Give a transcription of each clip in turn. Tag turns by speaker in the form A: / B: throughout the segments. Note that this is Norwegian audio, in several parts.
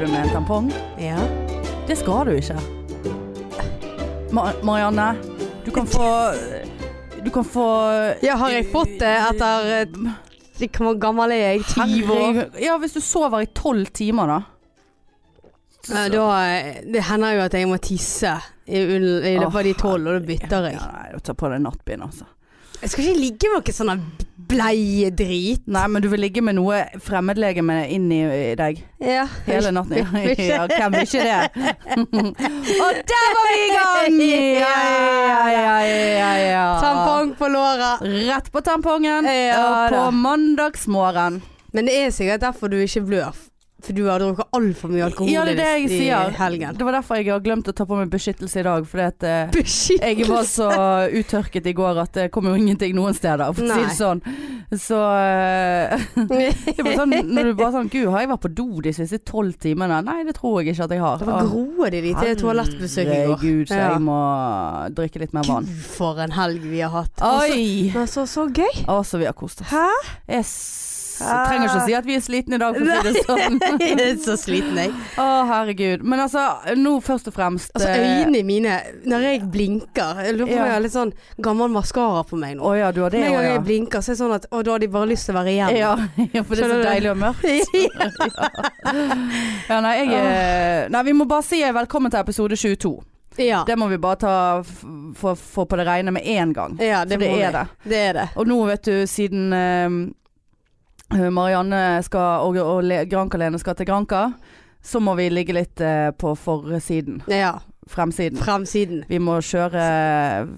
A: du med en tampong?
B: Ja.
A: Det skal du ikke. Ma- Marianne, du kan få Du kan få
B: ja, har jeg fått det etter eh, Hvor gammel er jeg? Tyve år?
A: Herregud. Ja, hvis du sover i tolv timer, da.
B: Ja, Da, eh, det hender jo at jeg må tisse i, ull- i løpet av de tolv, og da bytter jeg.
A: Ja, nei, du tar på deg nattbind, altså.
B: Jeg skal ikke ligge med noe sånn bleiedrit.
A: Nei, men du vil ligge med noe fremmedlegeme inni deg
B: Ja.
A: hele natten. Ja,
B: Vil ikke.
A: ja hvem vil ikke det? Og der var vi i gang! Ja, ja, ja, ja, ja.
B: Tampong på låret.
A: Rett på tampongen
B: Ja,
A: og
B: da.
A: på mandagsmorgen.
B: Men det er sikkert derfor du ikke blør. For du har drukket altfor mye alkohol
A: Ja, det er det jeg
B: i,
A: sier.
B: i helgen.
A: Det var derfor jeg har glemt å ta på meg beskyttelse i dag, fordi at eh,
B: Beskytt!
A: jeg var så uttørket i går at det kom jo ingenting noen steder, for å si det sånn. Så eh, det var sånn, når du bare sånn Gud, har jeg vært på do de siste tolv timene? Nei, det tror jeg ikke at jeg har. Ah,
B: Det var groet i de til toalettbesøk i går.
A: Herregud, så
B: Ja.
A: jeg må drikke litt mer vann.
B: Gud, for en helg vi har hatt. Altså,
A: Oi!
B: men så, så gøy.
A: Altså, vi har kost oss.
B: Hæ?
A: Jeg s- trenger ikke å si at vi er slitne i dag, for å si det sånn.
B: Jeg er så sliten, jeg.
A: Å, herregud. Men altså, nå først og fremst
B: Altså,
A: eh,
B: øynene mine Når jeg blinker Jeg lurer på om
A: Ja.
B: jeg har litt sånn gammel maskara på meg
A: Å
B: nå.
A: ja, du har det
B: Med
A: òg,
B: en gang
A: ja.
B: jeg blinker, så er det sånn at Å, da har de bare lyst til å være igjen.
A: Ja, ja, for det er
B: Skjønner
A: så
B: du?
A: deilig og mørkt. Ja, nei, jeg, eh, nei, vi må bare si velkommen til episode 22.
B: ja.
A: Det må vi bare ta f- få få på det rene med en gang.
B: Ja, det,
A: For det
B: må
A: er
B: vi.
A: det.
B: Det er det.
A: Og nå vet du, siden eh, Marianne skal, og, og Le- Granka-Lene skal til Granka, så må vi ligge litt eh, på forsiden.
B: Ja.
A: Fremsiden.
B: Fremsiden.
A: Vi må kjøre eh,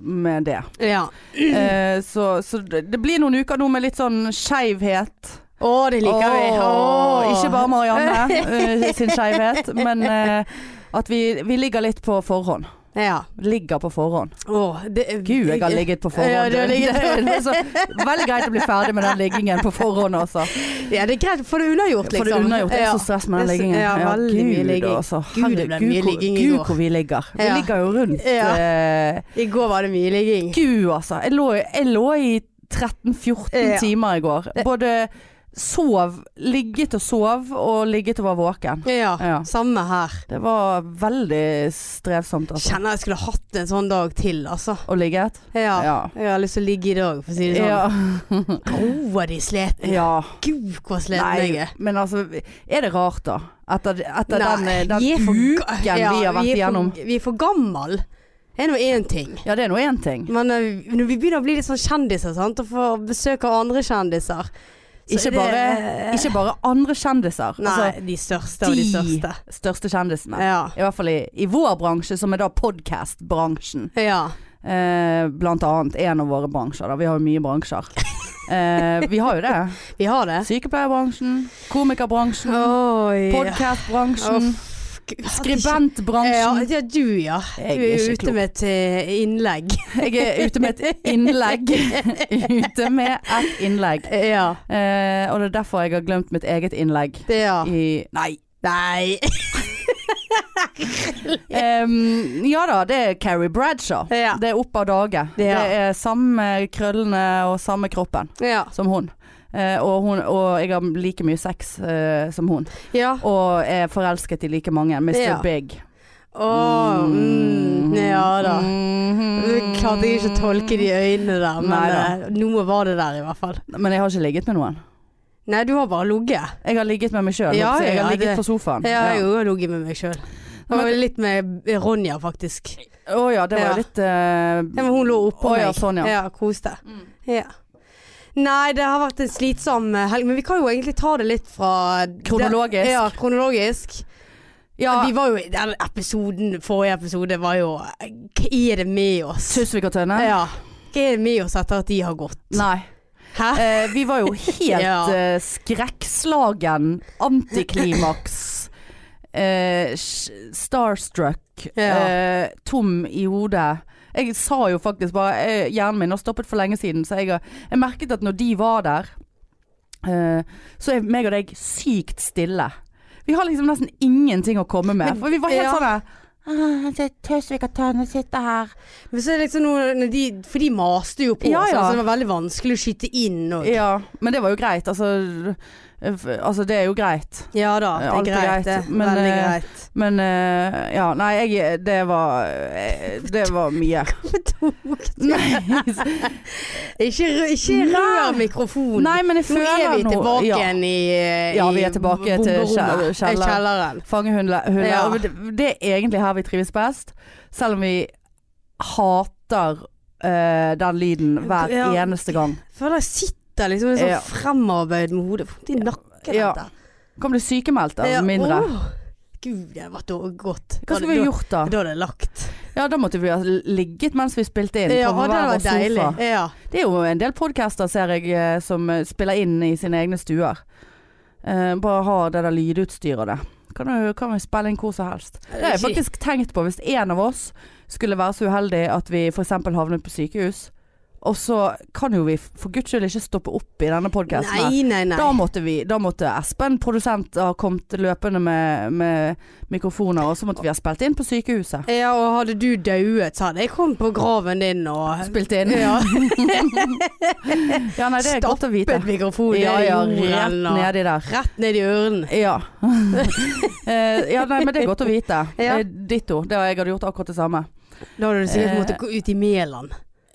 A: med det.
B: Ja.
A: Eh, så, så det det blir noen uker nå med litt sånn skeivhet.
B: Å, det liker vi.
A: Åh,
B: Å.
A: Ikke bare Marianne eh, sin skeivhet, men eh, at vi, vi ligger litt på forhånd.
B: Ja.
A: Ligger på forhånd.
B: Åh, det,
A: Gud, jeg har ligget på forhånd.
B: Ja, du har ligget-
A: Det er altså veldig greit å bli ferdig med den liggingen på forhånd, altså.
B: Ja, det er greit. Få det unnagjort, liksom.
A: For det er unnagjort. Det er
B: Ja.
A: så stress med den
B: Det er så-
A: liggingen.
B: ja, veldig mye
A: Gud,
B: ligging.
A: altså.
B: Gud, det ble
A: Herregud,
B: mye
A: hvor-
B: ligging i
A: Gud,
B: går.
A: hvor vi ligger. Vi
B: Ja.
A: ligger jo rundt
B: Ja.
A: eh,
B: I går var det mye ligging.
A: Gud, altså. Jeg lå, jeg lå i 13-14
B: Ja.
A: timer i går. Både sov, ligget og sov, og ligget og var våken.
B: Ja,
A: Ja.
B: samme her.
A: Det var veldig strevsomt, altså.
B: Kjenner jeg skulle hatt en sånn dag til, altså.
A: Og ligget.
B: Ja.
A: Ja.
B: Jeg har lyst til å ligge i dag, for å si det sånn.
A: Ja.
B: Åh, de sliten.
A: ja.
B: Gud, hvor sliten jeg
A: Nei,
B: er.
A: men altså, er det rart da? Etter, etter den, eh,
B: Nei,
A: den
B: vi er for
A: uken
B: ga-
A: vi har vært
B: vi er for-
A: igjennom.
B: Vi er for gammel. Det er nå én ting.
A: Ja, det er nå én ting.
B: Men eh, når vi begynner å bli litt sånn kjendiser, sant, og få besøk av andre kjendiser så er
A: Ikke
B: det-
A: bare, ikke bare andre kjendiser.
B: Nei,
A: Altså,
B: de største av de,
A: de
B: største.
A: største kjendisene.
B: Ja.
A: I hvert fall i, i vår bransje, som er da podkast-bransjen.
B: ja.
A: Eh, blant annet en av våre bransjer. Da. Vi har jo mye bransjer. Eh, vi har jo det.
B: Vi har det.
A: Sykepleierbransjen, komikerbransjen,
B: Oi.
A: podkastbransjen,
B: Ja,
A: skribentbransjen.
B: ja, du ja. Du
A: Jeg
B: er
A: er ikke
B: jo ute
A: klok.
B: med et eh, innlegg.
A: Jeg er ute med et innlegg. Ute med et innlegg.
B: ja.
A: Eh, og det er derfor jeg har glemt mitt eget innlegg.
B: Det ja.
A: I, nei.
B: Nei.
A: Em, ja da, det er Carrie Bradshaw.
B: Ja.
A: Det er opp av dage.
B: Ja.
A: Det er samme krøllene og samme kroppen
B: Ja.
A: som hun. Eh, og, hun og jeg har like mye sex eh, som hun.
B: ja.
A: Og er forelsket i like mange. Mr.
B: Ja.
A: Big.
B: Å, mm. Ja da.
A: Mhm.
B: Jeg klarte jeg ikke å tolke de øynene der,
A: Mm.
B: men
A: Neida.
B: eh, noe var det der i hvert fall.
A: Men jeg har ikke ligget med noen.
B: Nei, du har bare ligget.
A: Jeg har ligget med meg sjøl.
B: Ja,
A: jeg
B: ja,
A: har ligget
B: det-
A: på sofaen.
B: Ja, jeg har jo ligget med meg sjøl. Og litt med Ronja, faktisk.
A: Å ja, det var
B: Ja.
A: jo litt eh,
B: Ja, men hun lå
A: Å,
B: oppå meg.
A: ja, sånn, ja.
B: ja koste. Ja. Nei, det har vært en slitsom eh, helg, men vi kan jo egentlig ta det litt fra
A: Kronologisk.
B: Ja, kronologisk.
A: Ja,
B: Vi var jo, den episoden, forrige episode var jo eh, Hva er det med oss?
A: Tusvik og Tønne?
B: Ja. Hva er det med oss etter at de har gått?
A: Nei.
B: Hæ?
A: Eh, vi var jo helt
B: Ja.
A: eh, skrekkslagen, antiklimaks, eh, sh- starstruck,
B: Ja.
A: eh, tom i hodet. Jeg sa jo faktisk bare eh, Hjernen min har stoppet for lenge siden, så jeg, har- jeg merket at når de var der, eh, så er meg og deg sykt stille. Vi har liksom nesten ingenting å komme med.
B: Men-
A: for vi var helt
B: ja. Ah,
A: sånn der
C: Tøsvik og Tønne sitter her.
B: Men så er det liksom noe, når de, For de maste jo på
A: Ja,
B: oss,
A: ja.
B: altså det var veldig vanskelig å skyte inn. Og,
A: Ja, men det var jo greit. Altså, Eh, f- Altså, det er jo greit.
B: Ja da, det er
A: Alt er greit,
B: greit, det.
A: men,
B: Veldig
A: eh,
B: greit.
A: Men eh, ja, nei, jeg Det var eh, Det var mye. Nei,
B: Ikke, rø- ikke rør mikrofonen.
A: nei men jeg
B: Nå
A: føler
B: er vi
A: noe-
B: tilbake
A: ja.
B: igjen i, eh,
A: Ja,
B: i
A: vi er tilbake til
B: bomberommet.
A: kjell- kjeller.
B: Eh, kjelleren.
A: Fangehunder. hunder.
B: Ja.
A: Og det- Det er egentlig her vi trives best. Selv om vi hater eh, den lyden hver
B: Ja.
A: eneste gang.
B: Føler jeg sitter liksom i sånn
A: Ja.
B: fremarbeid med hodet vondt i nakken.
A: Ja.
B: dette.
A: Kan bli sykemeldt
B: Ja,
A: av mindre.
B: åh. Gud, det hadde vært da- godt.
A: Hva skulle vi gjort da?
B: Da hadde jeg lagt.
A: Ja, da måtte vi ha ligget mens vi spilte inn.
B: Ja,
A: på
B: det
A: hver
B: hadde
A: vår
B: vært deilig.
A: sofa.
B: Ja.
A: Det er jo en del podcaster, ser jeg, eh, som eh, spiller inn i sine egne stuer. Eh, bare har det der lydutstyret der. Kan, du, kan vi spille inn hvor som helst. Det har jeg faktisk tenkt på. Hvis en av oss skulle være så uheldig at vi f.eks. havnet på sykehus, og så kan jo vi for guds skyld ikke stoppe opp i denne podkasten.
B: Nei, nei, nei.
A: Da måtte, vi, da måtte Espen, produsent, ha kommet løpende med, med mikrofoner, og så måtte vi ha spilt inn på sykehuset.
B: Ja, og hadde du dauet, så hadde jeg kommet på graven din og
A: Spilt inn.
B: ja,
A: Ja, nei, det er godt å vite.
B: stappet mikrofonen
A: Ja, ja,
B: ned i
A: rett
B: jorden. og-
A: nedi der.
B: Rett ned i ørene.
A: Ja. Eh, ja, nei, men det er godt å vite.
B: Ja.
A: Eh, Ditto. Det har jeg hadde gjort akkurat det samme.
B: Da hadde du sikkert
A: Eh.
B: måttet gå ut i Mæland.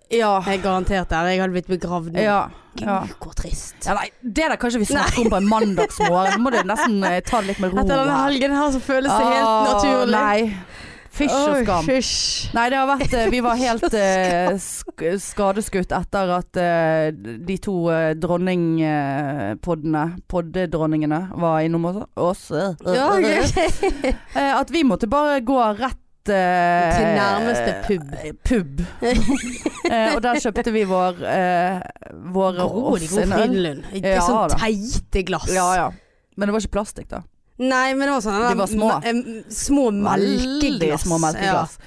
A: Ja.
B: Ah. Jeg garanterte det. Jeg hadde blitt begravd nå.
A: ja. ja.
B: Gud, hvor trist.
A: Ja, nei, det der kan ikke vi snakke om på en mandagsmorgen. Nå må du nesten eh, ta det litt med ro.
B: Etter denne
A: her.
B: helgen her så føles det helt
A: Åh,
B: naturlig.
A: Ah, Nei. Fysj og
B: Åh,
A: skam.
B: fysj.
A: Nei, det har vært eh, Vi var helt eh, sk- skadeskutt etter at eh, de to eh, dronningpoddene, poddedronningene, var innom oss. oss eh,
B: Ja, ok.
A: eh, at vi måtte bare gå rett eh,
B: Til nærmeste pub.
A: eh, Pub. eh, og der kjøpte vi vår eh, våre
B: Rolig,
A: oss
B: god
A: en øl.
B: Finlund. Ikke
A: Ja,
B: sånn
A: da.
B: teite glass.
A: Ja, ja. Men det var ikke plastikk, da.
B: Nei, men det var sånn
A: De var små.
B: me- em, små melkeglass.
A: Veldig små melkeglass.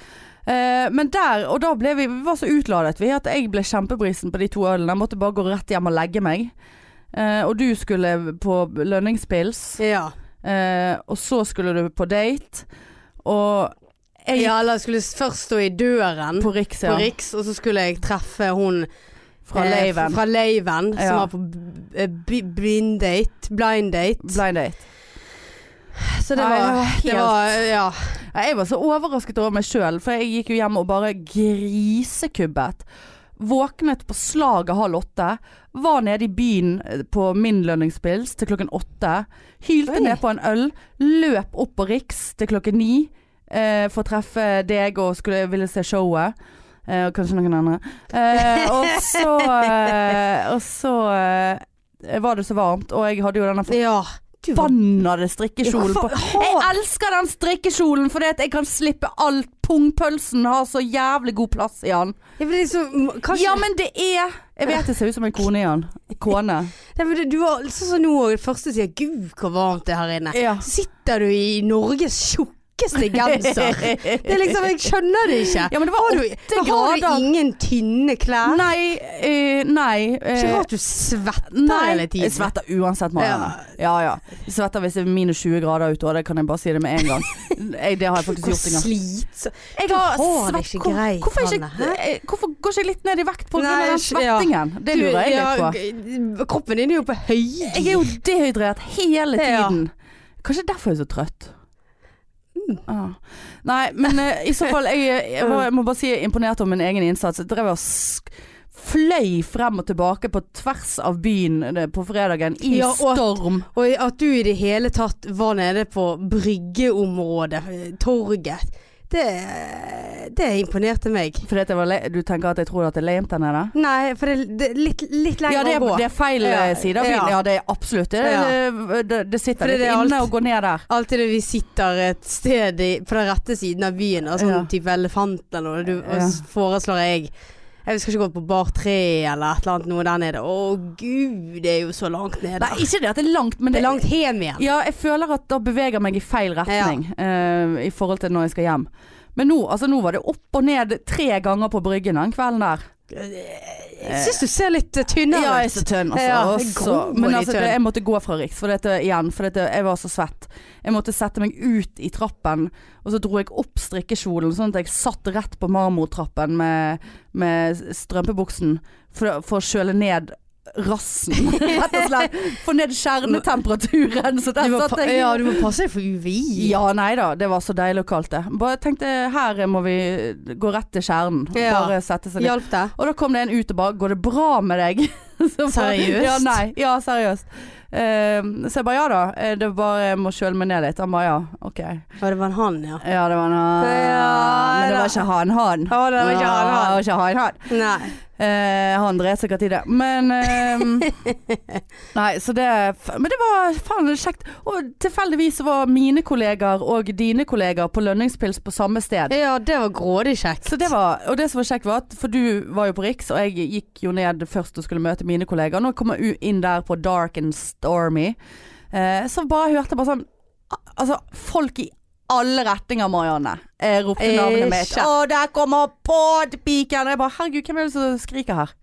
A: Eh, men der, og da ble vi, vi var så utladet vi at jeg ble kjempebrisen på de to ølene. Jeg måtte bare gå rett hjem og legge meg. Eh, og du skulle på lønningspils.
B: Ja. ja.
A: eh, og så skulle du på date. Og jeg gikk
B: Ja, eller jeg skulle først stå i døren på,
A: på Riks, ja.
B: Riks, og så skulle jeg treffe hun
A: Fra
B: eh,
A: Leiven.
B: fra Leiven
A: Ja.
B: som var på b- eh, b- blind date. Blind date.
A: Blind date.
B: så det
A: Nei,
B: var, det
A: helt-
B: var Ja.
A: Nei, Jeg var så overrasket over meg sjøl, for jeg gikk jo hjem og bare grisekubbet. Våknet på slaget halv åtte. Var nede i byen eh, på min lønningspils til klokken åtte. Hylte
B: Oi.
A: ned på en øl. Løp opp på Riks til klokken ni eh, for å treffe deg og skulle, ville se showet. Eh, og kanskje noen andre. Eh, og så, eh, og så eh, var det så varmt, og jeg hadde jo denne
B: ja. Du var-
A: forbannede strikkekjolen på.
B: Hva faen-
A: Jeg
B: Ha-
A: elsker den strikkekjolen fordi at jeg kan slippe alt. Pungpølsen har så jævlig god plass i den.
B: Jeg ble liksom Kanskje
A: Ja, men det er Jeg vet det ser ut som en kone i den. Kone.
B: Nei, men Du var sånn som nå, og det første sier 'gud, hvor varmt det er her inne'.
A: Ja.
B: Sitter du i Norges tjukkeste genser? Det er liksom, Jeg skjønner det ikke.
A: Ja, men det var
B: har du,
A: åtte
B: men har du
A: grader.
B: ingen tynne klær?
A: Nei, eh, nei eh,
B: Ikke rart du svetter hele
A: Nei,
B: tiden.
A: jeg svetter uansett, Marianne. Ja ja. Jeg svetter hvis det er minus 20 grader ute, og det kan jeg bare si det med en gang. Jeg, det har jeg faktisk
B: Hvor
A: gjort en gang.
B: slit
A: Jeg
B: Du
A: har
B: har det
A: svett-
B: ikke
A: hvor-
B: greit,
A: hvorfor, ikke,
B: Hanne,
A: eh, hvorfor går ikke jeg litt ned i vekt på grunn av
B: Nei,
A: den
B: ikke- ja.
A: svettingen? Det
B: Du-
A: lurer jeg litt på.
B: ja, Kroppen din er jo på høygir.
A: Jeg er jo dehydrert hele
B: Ja.
A: tiden. Kanskje derfor jeg er så trøtt.
B: Mm.
A: Ja. Nei, men eh, i så fall jeg, jeg, var, jeg må bare si jeg er imponert over min egen innsats. Jeg drev og sk fløy frem og tilbake på tvers av byen eh, på fredagen i
B: Ja, og at-
A: storm.
B: Og at du i det hele tatt var nede på bryggeområdet, eh, torget, det, det imponerte meg.
A: Fordi at jeg var le du tenker at jeg tror at det er lame der nede?
B: Nei, for det, det er litt, litt lenger
A: Ja, det
B: å gå.
A: er, det er feil eh,
B: Ja.
A: side av byen.
B: Ja.
A: Ja, det er absolutt det. Det, det, det sitter
B: Fordi
A: litt
B: det er
A: inne
B: alt-
A: å gå ned der.
B: Alltid når vi sitter et sted i, på den rette siden av byen, og sånn
A: Ja.
B: type elefant eller noe, du, og
A: Ja.
B: s- foreslår jeg Jeg skal ikke gå på bar 3 eller et eller annet noe der nede. Å gud, det er jo så langt nede.
A: Nei, ikke det at det er langt, men
B: det
A: det
B: er langt hjem igjen.
A: Ja, jeg føler at da beveger jeg meg i feil retning eh, i forhold til når jeg skal hjem. Men nå, altså, nå var det opp og ned tre ganger på bryggen den kvelden der.
B: Jeg syns du ser litt eh,
A: ja,
B: tynnere
A: jeg er
B: ut.
A: så tønn, altså.
B: Ja,
A: Og
B: jeg
A: så-
B: gror
A: men
B: i
A: altså, det,
B: tønn.
A: jeg måtte gå fra Riks, for dette igjen, for dette, jeg var så svett. Jeg måtte sette meg ut i trappen, og så dro jeg opp strikkekjolen, sånn at jeg satt rett på marmortrappen med, med strømpebuksen for, for å kjøle ned rassen, rett og slett. Få ned kjernetemperaturen. Så der
B: Du må,
A: satt
B: pa-
A: jeg.
B: ja, du må passe deg for UVI.
A: Ja, nei da. Det var så deilig og kaldt, det. Bare tenkte her må vi gå rett til kjernen.
B: Ja.
A: Bare sette seg ned.
B: Hjalp det?
A: Og da kom det en ut og bare 'Går det bra med deg?' Så bare-
B: Seriøst?
A: Ja, nei. Ja, seriøst. Eh, så jeg bare 'Ja da'. eh, Det var bare jeg må kjøle meg ned litt. Han bare 'Ja, OK'.
B: Ja, det var en han, ja.
A: Ja, det var en han.
B: Ja,
A: Men det var
B: da.
A: ikke han, han.
B: Ja, det var
A: Ja, det
B: ikke han,
A: var
B: han.
A: ikke han, han.
B: Nei.
A: Eh, han dreier seg sikkert i det. Men eh, Nei, så det Men det var faen kjekt. Og tilfeldigvis så var mine kollegaer og dine kollegaer på lønningspils på samme sted.
B: Ja, det var grådig kjekt.
A: Så det var, og det som var kjekt var at, for du var jo på Riks, og jeg gikk jo ned først og skulle møte mine kollegaer. Når jeg kommer u- inn der på Dark and Stormy, eh, så bare hørte jeg bare sånn al- Altså, folk i alle retninger, Marianne, eh, ropte navnet mitt.
B: Ikke.
A: Å, der kommer podpiken! Og jeg bare herregud, hvem er det som skriker her?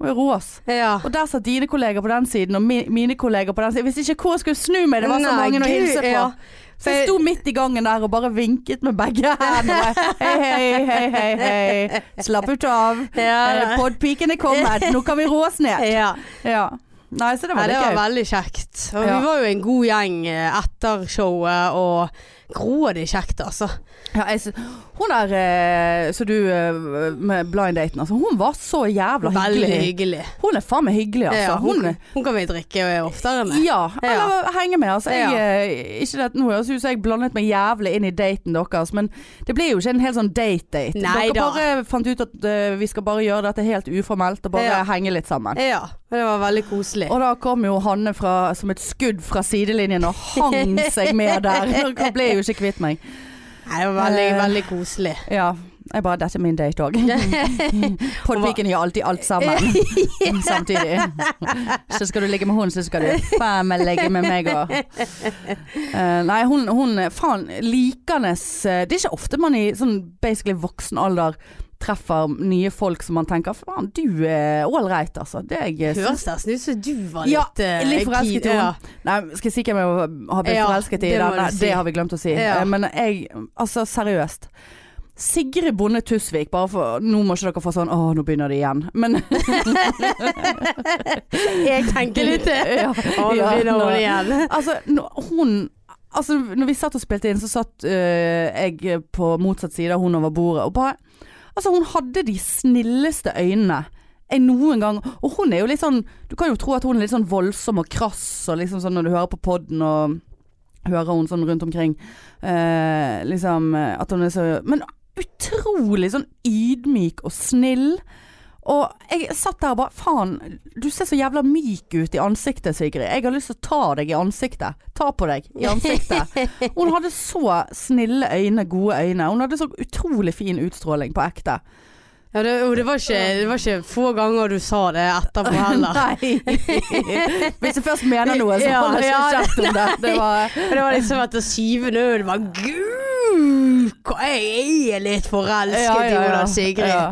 A: Må jo roe oss.
B: Ja.
A: Og der satt dine kolleger på den siden, og mi, mine kolleger på den siden. Jeg visste ikke hvor jeg skulle snu meg, det var så
B: Nei,
A: mange å
B: gud,
A: hilse på.
B: ja.
A: Så jeg sto midt i gangen der og bare vinket med begge hendene. Hei, hei, hei, hei, hei. Slapp ut av. Eh,
B: Ja, det-
A: Podpiken er kommet, nå kan vi roe oss ned.
B: ja.
A: Ja. Nei, så det
B: Nei,
A: var
B: det
A: litt
B: var
A: gøy.
B: veldig kjekt. Og
A: Ja.
B: vi var jo en god gjeng eh, etter showet, og grådig kjekt, altså.
A: Ja, jeg sy- hun der eh, så du eh, med blind daten, altså. Hun var så jævla
B: Veldig
A: hyggelig.
B: hyggelig.
A: Hun er faen meg hyggelig,
B: Ja,
A: altså.
B: hun,
A: Hun
B: hun kan vi drikke oftere med.
A: Ja, eller henge med. Altså, jeg,
B: Ja.
A: eh, ikke det at nå høres det ut som jeg blandet meg jævlig inn i daten deres, men det blir jo ikke en helt sånn date-date.
B: Nei
A: Dere
B: da.
A: bare fant ut at eh, vi skal bare gjøre dette helt uformelt og bare
B: Ja.
A: henge litt sammen.
B: Ja, men det var veldig koselig.
A: Og da kom jo Hanne fra, som et skudd fra sidelinjen og hang seg med der. Dere ble jo ikke kvitt meg.
B: Nei, det var veldig,
A: Eh.
B: veldig koselig.
A: Ja, jeg bare Dette er min date òg. Podpiken gjør alltid alt sammen Mm, samtidig. Så skal du ligge med hun, så skal du faen meg ligge med meg òg. nei, hun, hun er faen likende eh, Det er ikke ofte man i sånn basically voksen alder treffer nye folk som man tenker faen, du er ålreit, altså. Det er jeg eh,
B: Høres nesten ut som du var
A: Ja,
B: litt eh,
A: litt forelsket i
B: keen. Ja.
A: Nei, skal jeg si hvem jeg har blitt
B: Ja,
A: forelsket i?
B: det
A: Det,
B: må
A: denne?
B: du si.
A: det har vi glemt å si.
B: Ja.
A: Eh, Men jeg Altså, seriøst. Sigrid Bonde Tusvik, bare for Nå må ikke dere få sånn Å, nå begynner det igjen. Men
B: Jeg tenker litt det.
A: ja,
B: Å, nå
A: ja,
B: begynner hun
A: eh, nå-
B: igjen.
A: Altså, når hun Altså, når vi satt og spilte inn, så satt eh, jeg på motsatt side av hun over bordet, og bare Altså, hun hadde de snilleste øynene jeg noen gang Og hun er jo litt sånn Du kan jo tro at hun er litt sånn voldsom og krass, og liksom sånn når du hører på podden og hører hun sånn rundt omkring eh, Liksom eh, at hun er så Men utrolig sånn ydmyk og snill. Og jeg satt der og bare Faen, du ser så jævla myk ut i ansiktet, Sigrid. Jeg har lyst til å ta deg i ansiktet. Ta på deg i ansiktet. Hun hadde så snille øyne, gode øyne. Hun hadde så utrolig fin utstråling på ekte.
B: Ja, det, og det, var ikke, det var ikke få ganger du sa det etterpå heller.
A: Nei. Hvis jeg først mener noe, så
B: Ja,
A: holder jeg
B: ja.
A: ikke kjeft om det. Det var
B: Men det var liksom etter syvende øl var Gud, hva- jeg er litt forelsket
A: Ja,
B: i
A: ja, ja.
B: Ola Sigrid.
A: Ja.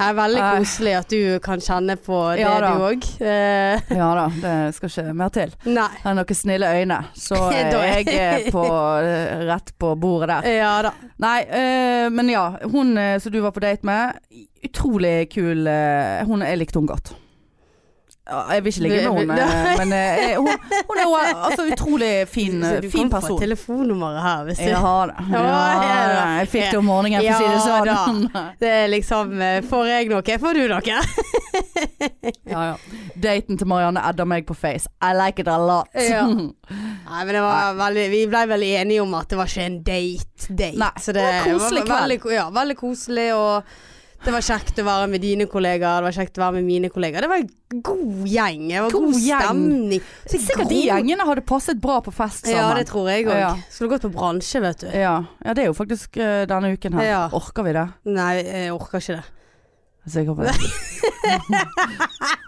B: Det er veldig
A: Nei.
B: koselig at du kan kjenne på det
A: Ja da.
B: du òg. Eh,
A: ja da, det skal ikke mer til.
B: nei.
A: Har noen snille øyne, så
B: Da er-
A: er jeg eh, på, rett på bordet der.
B: Ja da.
A: Nei, eh, men ja. Hun eh, som du var på date med, utrolig kul. eh, hun, jeg likte hun godt. Ja, Jeg vil ikke ligge med henne, eh, men eh, hun, hun er jo eh, altså, utrolig fin,
B: Så
A: eh,
B: du
A: fin
B: kan få
A: person.
B: telefonnummeret her hvis du
A: Jeg har det. Ja,
B: ja, ja.
A: jeg fikk det om morgenen, for å si det
B: Ja,
A: sånn.
B: Det er liksom eh, Får jeg noe, får du noe.
A: Ja, ja. Daten til Marianne edder meg på face. I like it a lot.
B: Ja. Nei, men det var veldig Vi ble vel enige om at det var ikke en date. date.
A: Nei,
B: Så
A: det var en koselig
B: var veldig, ko- Ja, veldig koselig, og det var kjekt å være med dine kollegaer. Det var kjekt å være med mine kollegaer. Det var en god gjeng. Det var
A: God
B: god,
A: gjeng.
B: stemning. Så
A: Sikkert de
B: god-
A: gjengene hadde passet bra på fest sammen.
B: Ja, det tror jeg òg.
A: Ja.
B: Skulle gått på bransje, vet du.
A: Ja. ja, det er jo faktisk eh, denne uken her.
B: Ja.
A: Orker vi det?
B: Nei, jeg orker ikke det.
A: Jeg er sikker på det.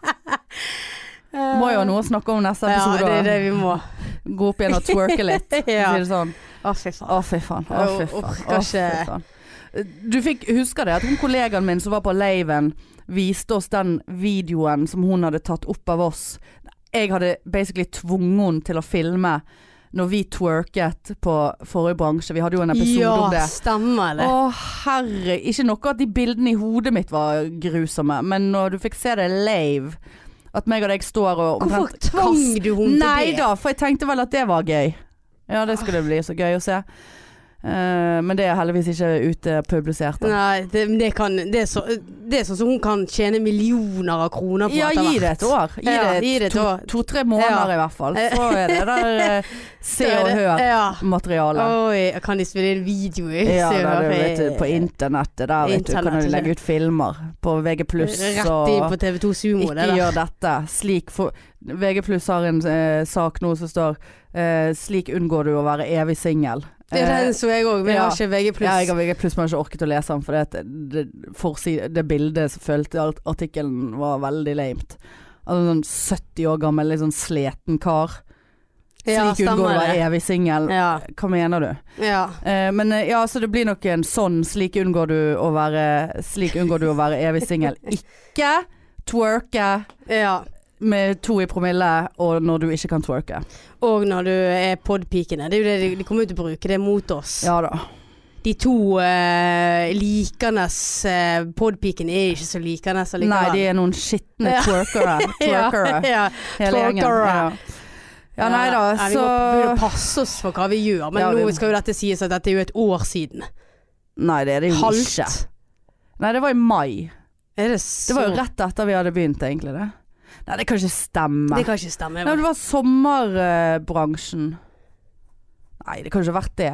A: Eh, Må jo ha noe å snakke om neste
B: Ja,
A: episode.
B: det er det vi må.
A: Gå opp igjen og twerke litt.
B: Ja.
A: Si det sånn.
B: Å, fy faen.
A: Å, fy faen. Å, fy
B: Jeg
A: faen.
B: orker
A: Å, fy
B: ikke.
A: faen. Du fikk, husker det at hun kollegaen min som var på laven, viste oss den videoen som hun hadde tatt opp av oss. Jeg hadde basically tvunget henne til å filme når vi twerket på forrige bransje. Vi hadde jo en episode
B: ja,
A: om det.
B: stemmer det.
A: Å herre, ikke noe at de bildene i hodet mitt var grusomme, men når du fikk se det live At meg og deg står og
B: Hvorfor tvang du henne til det?
A: Nei da, for jeg tenkte vel at det var gøy. Ja, det skulle bli så gøy å se. Eh, men det er heldigvis ikke ute publisert. da.
B: Nei, det, men det, kan, det, er så, det er sånn som hun kan tjene millioner av kroner på
A: Ja,
B: etter
A: gi det
B: hvert.
A: et år. Gi
B: Ja,
A: det,
B: gi det et
A: to-
B: år.
A: to-tre måneder i
B: Ja.
A: hvert fall. Så er det der eh, se
B: Da er
A: og
B: det- Ja.
A: hør-materialet.
B: Oi, kan de spille en video? i
A: Ja,
B: Se og
A: da,
B: Hør?
A: du, vet du, på internettet der vet du, kan
B: Internettet,
A: du legge ut filmer på VG+.
B: Rett inn på
A: og
B: TV2 Sumo,
A: ikke
B: det der.
A: gjør dette. Slik for, VG+, har en eh, sak nå som står eh, 'Slik unngår du å være evig singel'.
B: Det er
A: Eh,
B: den så jeg òg, men jeg
A: ja.
B: har ikke VG+.
A: ja, jeg har VG+, men har ikke orket å lese den, for det, det, forsi- det bildet som fulgte alt- artikkelen var veldig lamet. Altså sånn 70 år gammel, litt sånn sleten kar. Slik
B: Ja,
A: unngår du å
B: stemmer
A: være
B: det.
A: evig singel.
B: Ja.
A: Hva mener du?
B: ja.
A: Eh, men eh, ja, så det blir nok en sånn Slik unngår du å være, slik unngår du å være evig singel. Ikke twerke
B: ja.
A: med to i promille, og når du ikke kan twerke.
B: Og når du er podpikene. Det er jo det de, de kommer jo til å bruke, det er mot oss.
A: Ja da.
B: De to uh, likende uh, podpikene er ikke så likende
A: Nei,
B: allikevel.
A: de er noen skitne
B: Ja.
A: twerkere. Twerkere,
B: Ja, ja.
A: hele gjengen. Ja.
B: twerkere.
A: ja, nei da,
B: Ja, vi
A: så
B: må, vi må passe oss for hva vi gjør, men
A: Ja, vi må.
B: nå skal jo dette sies at dette er jo et år siden.
A: Nei, det er det jo ikke.
B: Halvt.
A: Nei, det var i mai.
B: Er det så
A: Det var jo rett etter vi hadde begynt, egentlig. det Nei, det kan ikke stemme.
B: Det kan ikke
A: Nei,
B: stemme.
A: men det var sommerbransjen. Nei, det kan ikke ha vært det.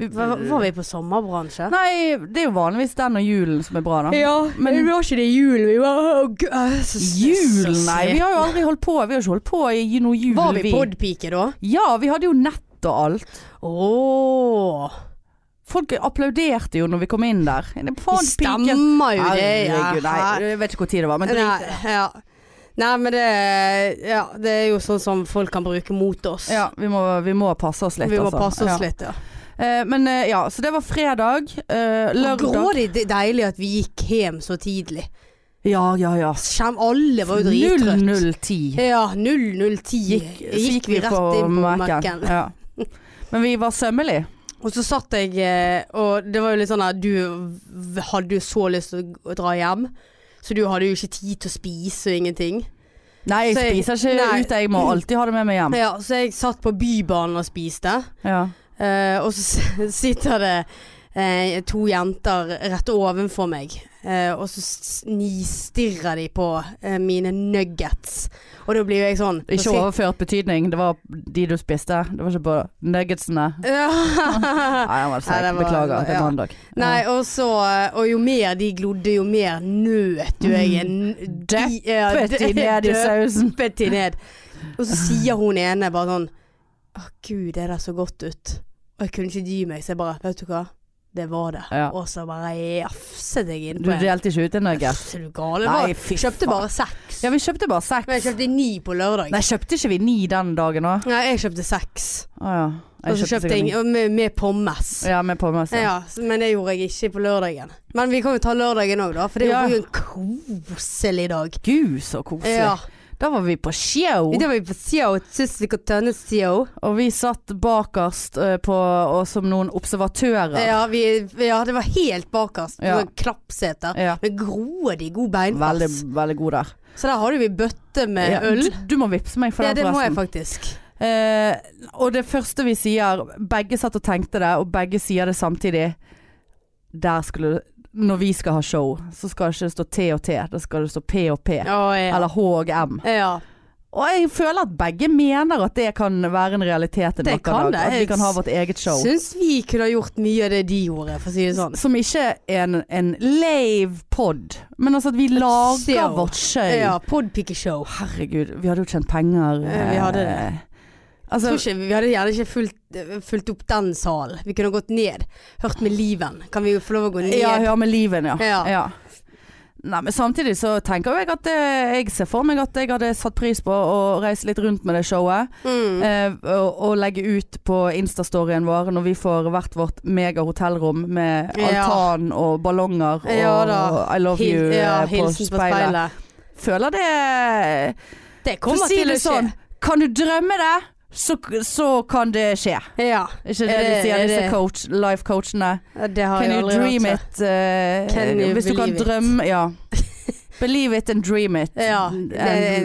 A: Vi-
B: Var, var vi på sommerbransje?
A: Nei, det er jo vanligvis den og julen som er bra, da.
B: Ja,
A: men-
B: vi var ikke det i julen. Vi var Åh, gud, jeg er så-
A: Jul, nei.
B: så svett.
A: Vi har jo aldri holdt på. Vi har ikke holdt på i noe jul.
B: Var vi podpike da?
A: Ja, vi hadde jo nett og alt.
B: Åh
A: Folk applauderte jo når vi kom inn der. Det er
B: Det
A: faen piken.
B: stemmer jo det. Ja.
A: Herregud, nei. Jeg vet ikke hvor tid det var, men drit i det.
B: Nei, ja. nei, men det Ja, det er jo sånn som folk kan bruke mot oss.
A: Ja, vi må, vi må passe oss litt,
B: vi må
A: altså.
B: passe
A: ja.
B: oss litt, ja.
A: Eh, men eh, ja, så det var fredag. Eh, lørdag
B: Grådig de- deilig at vi gikk hjem så tidlig.
A: Ja, ja, ja.
B: Skjem, alle var jo drittrøtt.
A: 0010
B: Ja, 0010 gikk,
A: Så gikk vi rett inn på Mac-en. Ja. Men vi var sømmelige.
B: Og så satt jeg, eh, og det var jo litt sånn at du v- hadde jo så lyst til å dra hjem. Så du hadde jo ikke tid til å spise og ingenting.
A: Nei, jeg
B: Så jeg-
A: spiser ikke
B: nei.
A: ute. Jeg må alltid ha det med meg hjem.
B: Ja, så jeg satt på Bybanen og spiste.
A: Ja.
B: Eh, og så s- sitter det eh, to jenter rett ovenfor meg, eh, og så s- nistirrer de på eh, mine nuggets. Og da blir jo jeg sånn nå
A: Ikke
B: skal jeg-
A: overført betydning. Det var de du spiste. Det var ikke på nuggetsene.
B: Ja.
A: Nei, han var
B: Nei,
A: seig.
B: det var-
A: Beklager. Det er
B: ja.
A: mandag.
B: Nei, og så eh, Og jo mer de glodde, jo mer nøt jo jeg. en-
A: Døppet
B: Ja,
A: Putt Mm. i ned i sausen.
B: døppet de ned. Og så sier hun ene bare sånn Å, gud, det der så godt ut. Og jeg kunne ikke dy meg, så jeg bare Vet du hva? Det var det.
A: Ja.
B: Og så bare jafset jeg
A: Du
B: innpå en.
A: delte ikke ut en nugget.
B: Er du gal? Jeg
A: Nei,
B: bare-
A: fy faen.
B: kjøpte bare seks.
A: Ja, vi kjøpte bare
B: Men jeg
A: seks.
B: kjøpte ni på lørdag.
A: Nei, kjøpte ikke vi ni den dagen òg?
B: Nei, jeg kjøpte seks.
A: Å ja.
B: Og så kjøpte
A: sikkert
B: jeg og med, med pommes.
A: ni. Ja, med altså. pommes. Ja.
B: Ja, så- men det gjorde jeg ikke på lørdagen. Men vi kan jo ta lørdagen òg, da. For det
A: Ja.
B: var jo en koselig dag.
A: Gud, så
B: Ja.
A: koselig. Da var vi på show.
B: Da var vi på E Sio, Syslik og Tønnes Sio.
A: Og vi satt bakerst eh, på, og som noen observatører.
B: Ja, vi, ja, det var helt bakerst.
A: Ja.
B: Sånn Klappseter.
A: Ja.
B: Med grådig god beinpass.
A: Veldig, veldig god der.
B: Så der hadde vi bøtte med
A: Ja,
B: Eh, øl.
A: Du, du må vippse meg for
B: Ja,
A: den,
B: det må jeg
A: forresten.
B: faktisk.
A: Eh, og det første vi sier, begge satt og tenkte det, og begge sier det samtidig. Der skulle Når vi skal ha show, så skal det ikke stå T og T, da skal det stå P og P.
B: Å, ja.
A: Eller H og M.
B: ja.
A: Og jeg føler at begge mener at det kan være en realitet en
B: Det
A: vakker dag.
B: kan det.
A: At vi kan ha vårt eget show.
B: Syns vi kunne ha gjort mye av det de gjorde, for å si det sånn.
A: Som ikke er en, en lave pod, men altså at vi lager
B: show.
A: vårt show.
B: Ja, podpikeshow.
A: Herregud, vi hadde jo tjent penger.
B: Eh, vi hadde det.
A: eh,
B: Jeg
A: Altså,
B: tror ikke, vi hadde gjerne ikke fulgt, fulgt opp den salen. Vi kunne gått ned. Hørt med liven. Kan vi jo få lov å gå ned?
A: Ja, hør med liven, ja.
B: Ja.
A: Nei, men samtidig så tenker jo jeg at eh, jeg ser for meg at jeg hadde satt pris på å reise litt rundt med det showet.
B: Mm.
A: eh, og, og legge ut på Instastoryen vår når vi får hvert vårt megahotellrom med
B: Ja.
A: altan og ballonger og
B: Ja da.
A: I love you
B: Hil- ja,
A: eh, på,
B: hilsen
A: speilet. Føler det
B: Det
A: For å
B: kommer
A: si
B: til
A: det
B: å skje.
A: sånn, kan du drømme det, så, så kan det skje.
B: Ja.
A: Ikke det,
B: Er
A: de
B: det-
A: sier,
B: er
A: disse
B: det-
A: coach, life-coachene.
B: Det har
A: Can
B: jeg
A: you
B: aldri
A: dream
B: hørt.
A: it? eh,
B: Can you
A: hvis du kan
B: believe it?
A: drømme Ja. Believe it and dream it.
B: Ja,
A: and
B: det-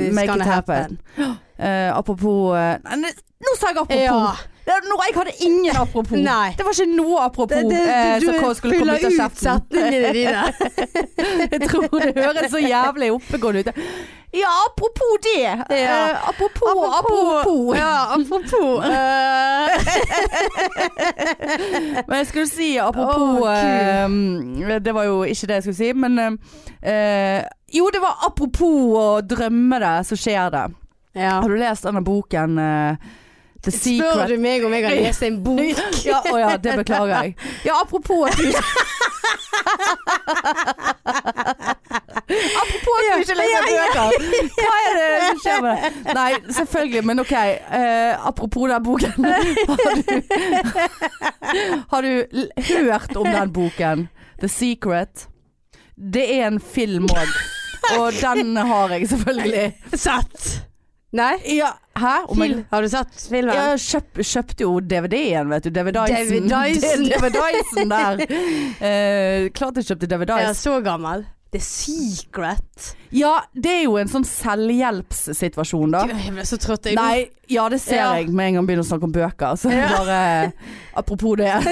B: it's
A: make
B: gonna
A: it happen. Eh, apropos eh, nei, Nå nå sa jeg apropos!
B: Ja.
A: Det, nå, jeg hadde ingen apropos.
B: Nei.
A: Det var ikke noe apropos
B: Det, det,
A: eh,
B: du
A: som kom- skulle komme ut av
B: fyller ut
A: kjeften.
B: setningene dine.
A: Jeg tror det høres så jævlig oppegående ut. Ja, apropos det.
B: Ja.
A: Eh, apropos, apropos.
B: Ja, apropos. eh,
A: Men jeg skulle si apropos
B: Åh,
A: eh, Det var jo ikke det jeg skulle si, men eh, eh, Jo, det var apropos å drømme det, så skjer det.
B: ja.
A: Har du lest denne boken eh, The
B: Spør
A: Secret?
B: du meg om jeg har lest en bok?
A: Ja, å ja, det beklager jeg. Ja, apropos at du Apropos at du ikke leser bøker. Hva er det som skjer med det? Nei, selvfølgelig, men OK. eh, apropos den boken. Har du, har du l- hørt om den boken? The Secret. Det er en film òg. Og den har jeg selvfølgelig.
B: Sett. Nei?
A: Ja, hæ? Om jeg-
B: Fil. Har du sett filmen?
A: ja, kjøp, kjøpte jo DVD-en, vet du.
B: David
A: DVD-Dyson.
B: Dyson.
A: DVD-Dyson der. Eh, klart jeg kjøpte
B: Jeg
A: DVD-Dyson.
B: er så gammel. The Secret.
A: Ja, det er jo en sånn selvhjelpssituasjon, da.
B: Gud, jeg ble så trøtt. Jeg
A: Nei, ja det ser
B: Ja.
A: jeg med en gang begynner å snakke om bøker. Så
B: Ja.
A: bare eh, Apropos det.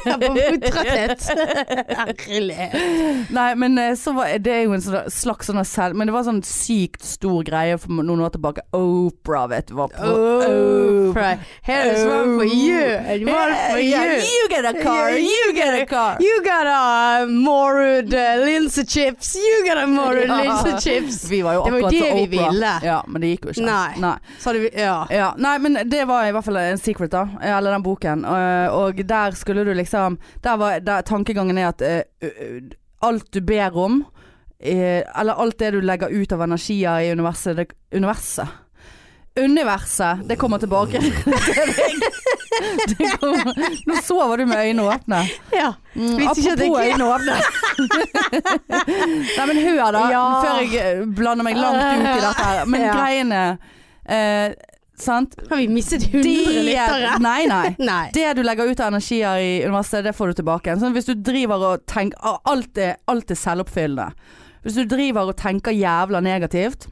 B: Jeg er på trøtthet. Herlig.
A: Nei, men eh, så var, det er jo en sånn slags sånn selv... Men det var sånn sykt stor greie for noen år tilbake. Opera, vet du. Var på
B: Oh,
A: Oprah.
B: Here is one
A: oh.
B: for you and one for
A: Yeah,
B: you.
A: you get a car,
B: Yeah,
A: you get a car.
B: You got a morud uh, linse chips. You got a morud
A: Ja.
B: linse chips.
A: Vi var jo
B: Det var jo
A: akkurat
B: det
A: så
B: vi
A: Oprah.
B: ville.
A: Ja, men det gikk jo ikke.
B: Nei. Så hadde vi Ja.
A: Ja, nei, men det var i hvert fall en secret, da. Eller den boken. Eh, Og der skulle du liksom Der var der, tankegangen er at eh, ø- ø- alt du ber om, eh, eller alt det du legger ut av energier i universet det, Universet. Universet. Det kommer tilbake. det kommer. Nå sover du med øynene åpne.
B: ja.
A: Mm,
B: Visste ikke at jeg-
A: apropos øynene åpne. Nei, men hør da,
B: Ja.
A: før jeg eh, blander meg langt ut i dette her. Men
B: Ja.
A: greiene eh, Sant?
B: Har vi mistet 100 lyttere?
A: Nei, nei.
B: Nei.
A: Det du legger ut av energier i universet, det får du tilbake igjen. Sånn, hvis du driver og tenker ah, Alt er, alt er selvoppfyllende. Hvis du driver og tenker jævla negativt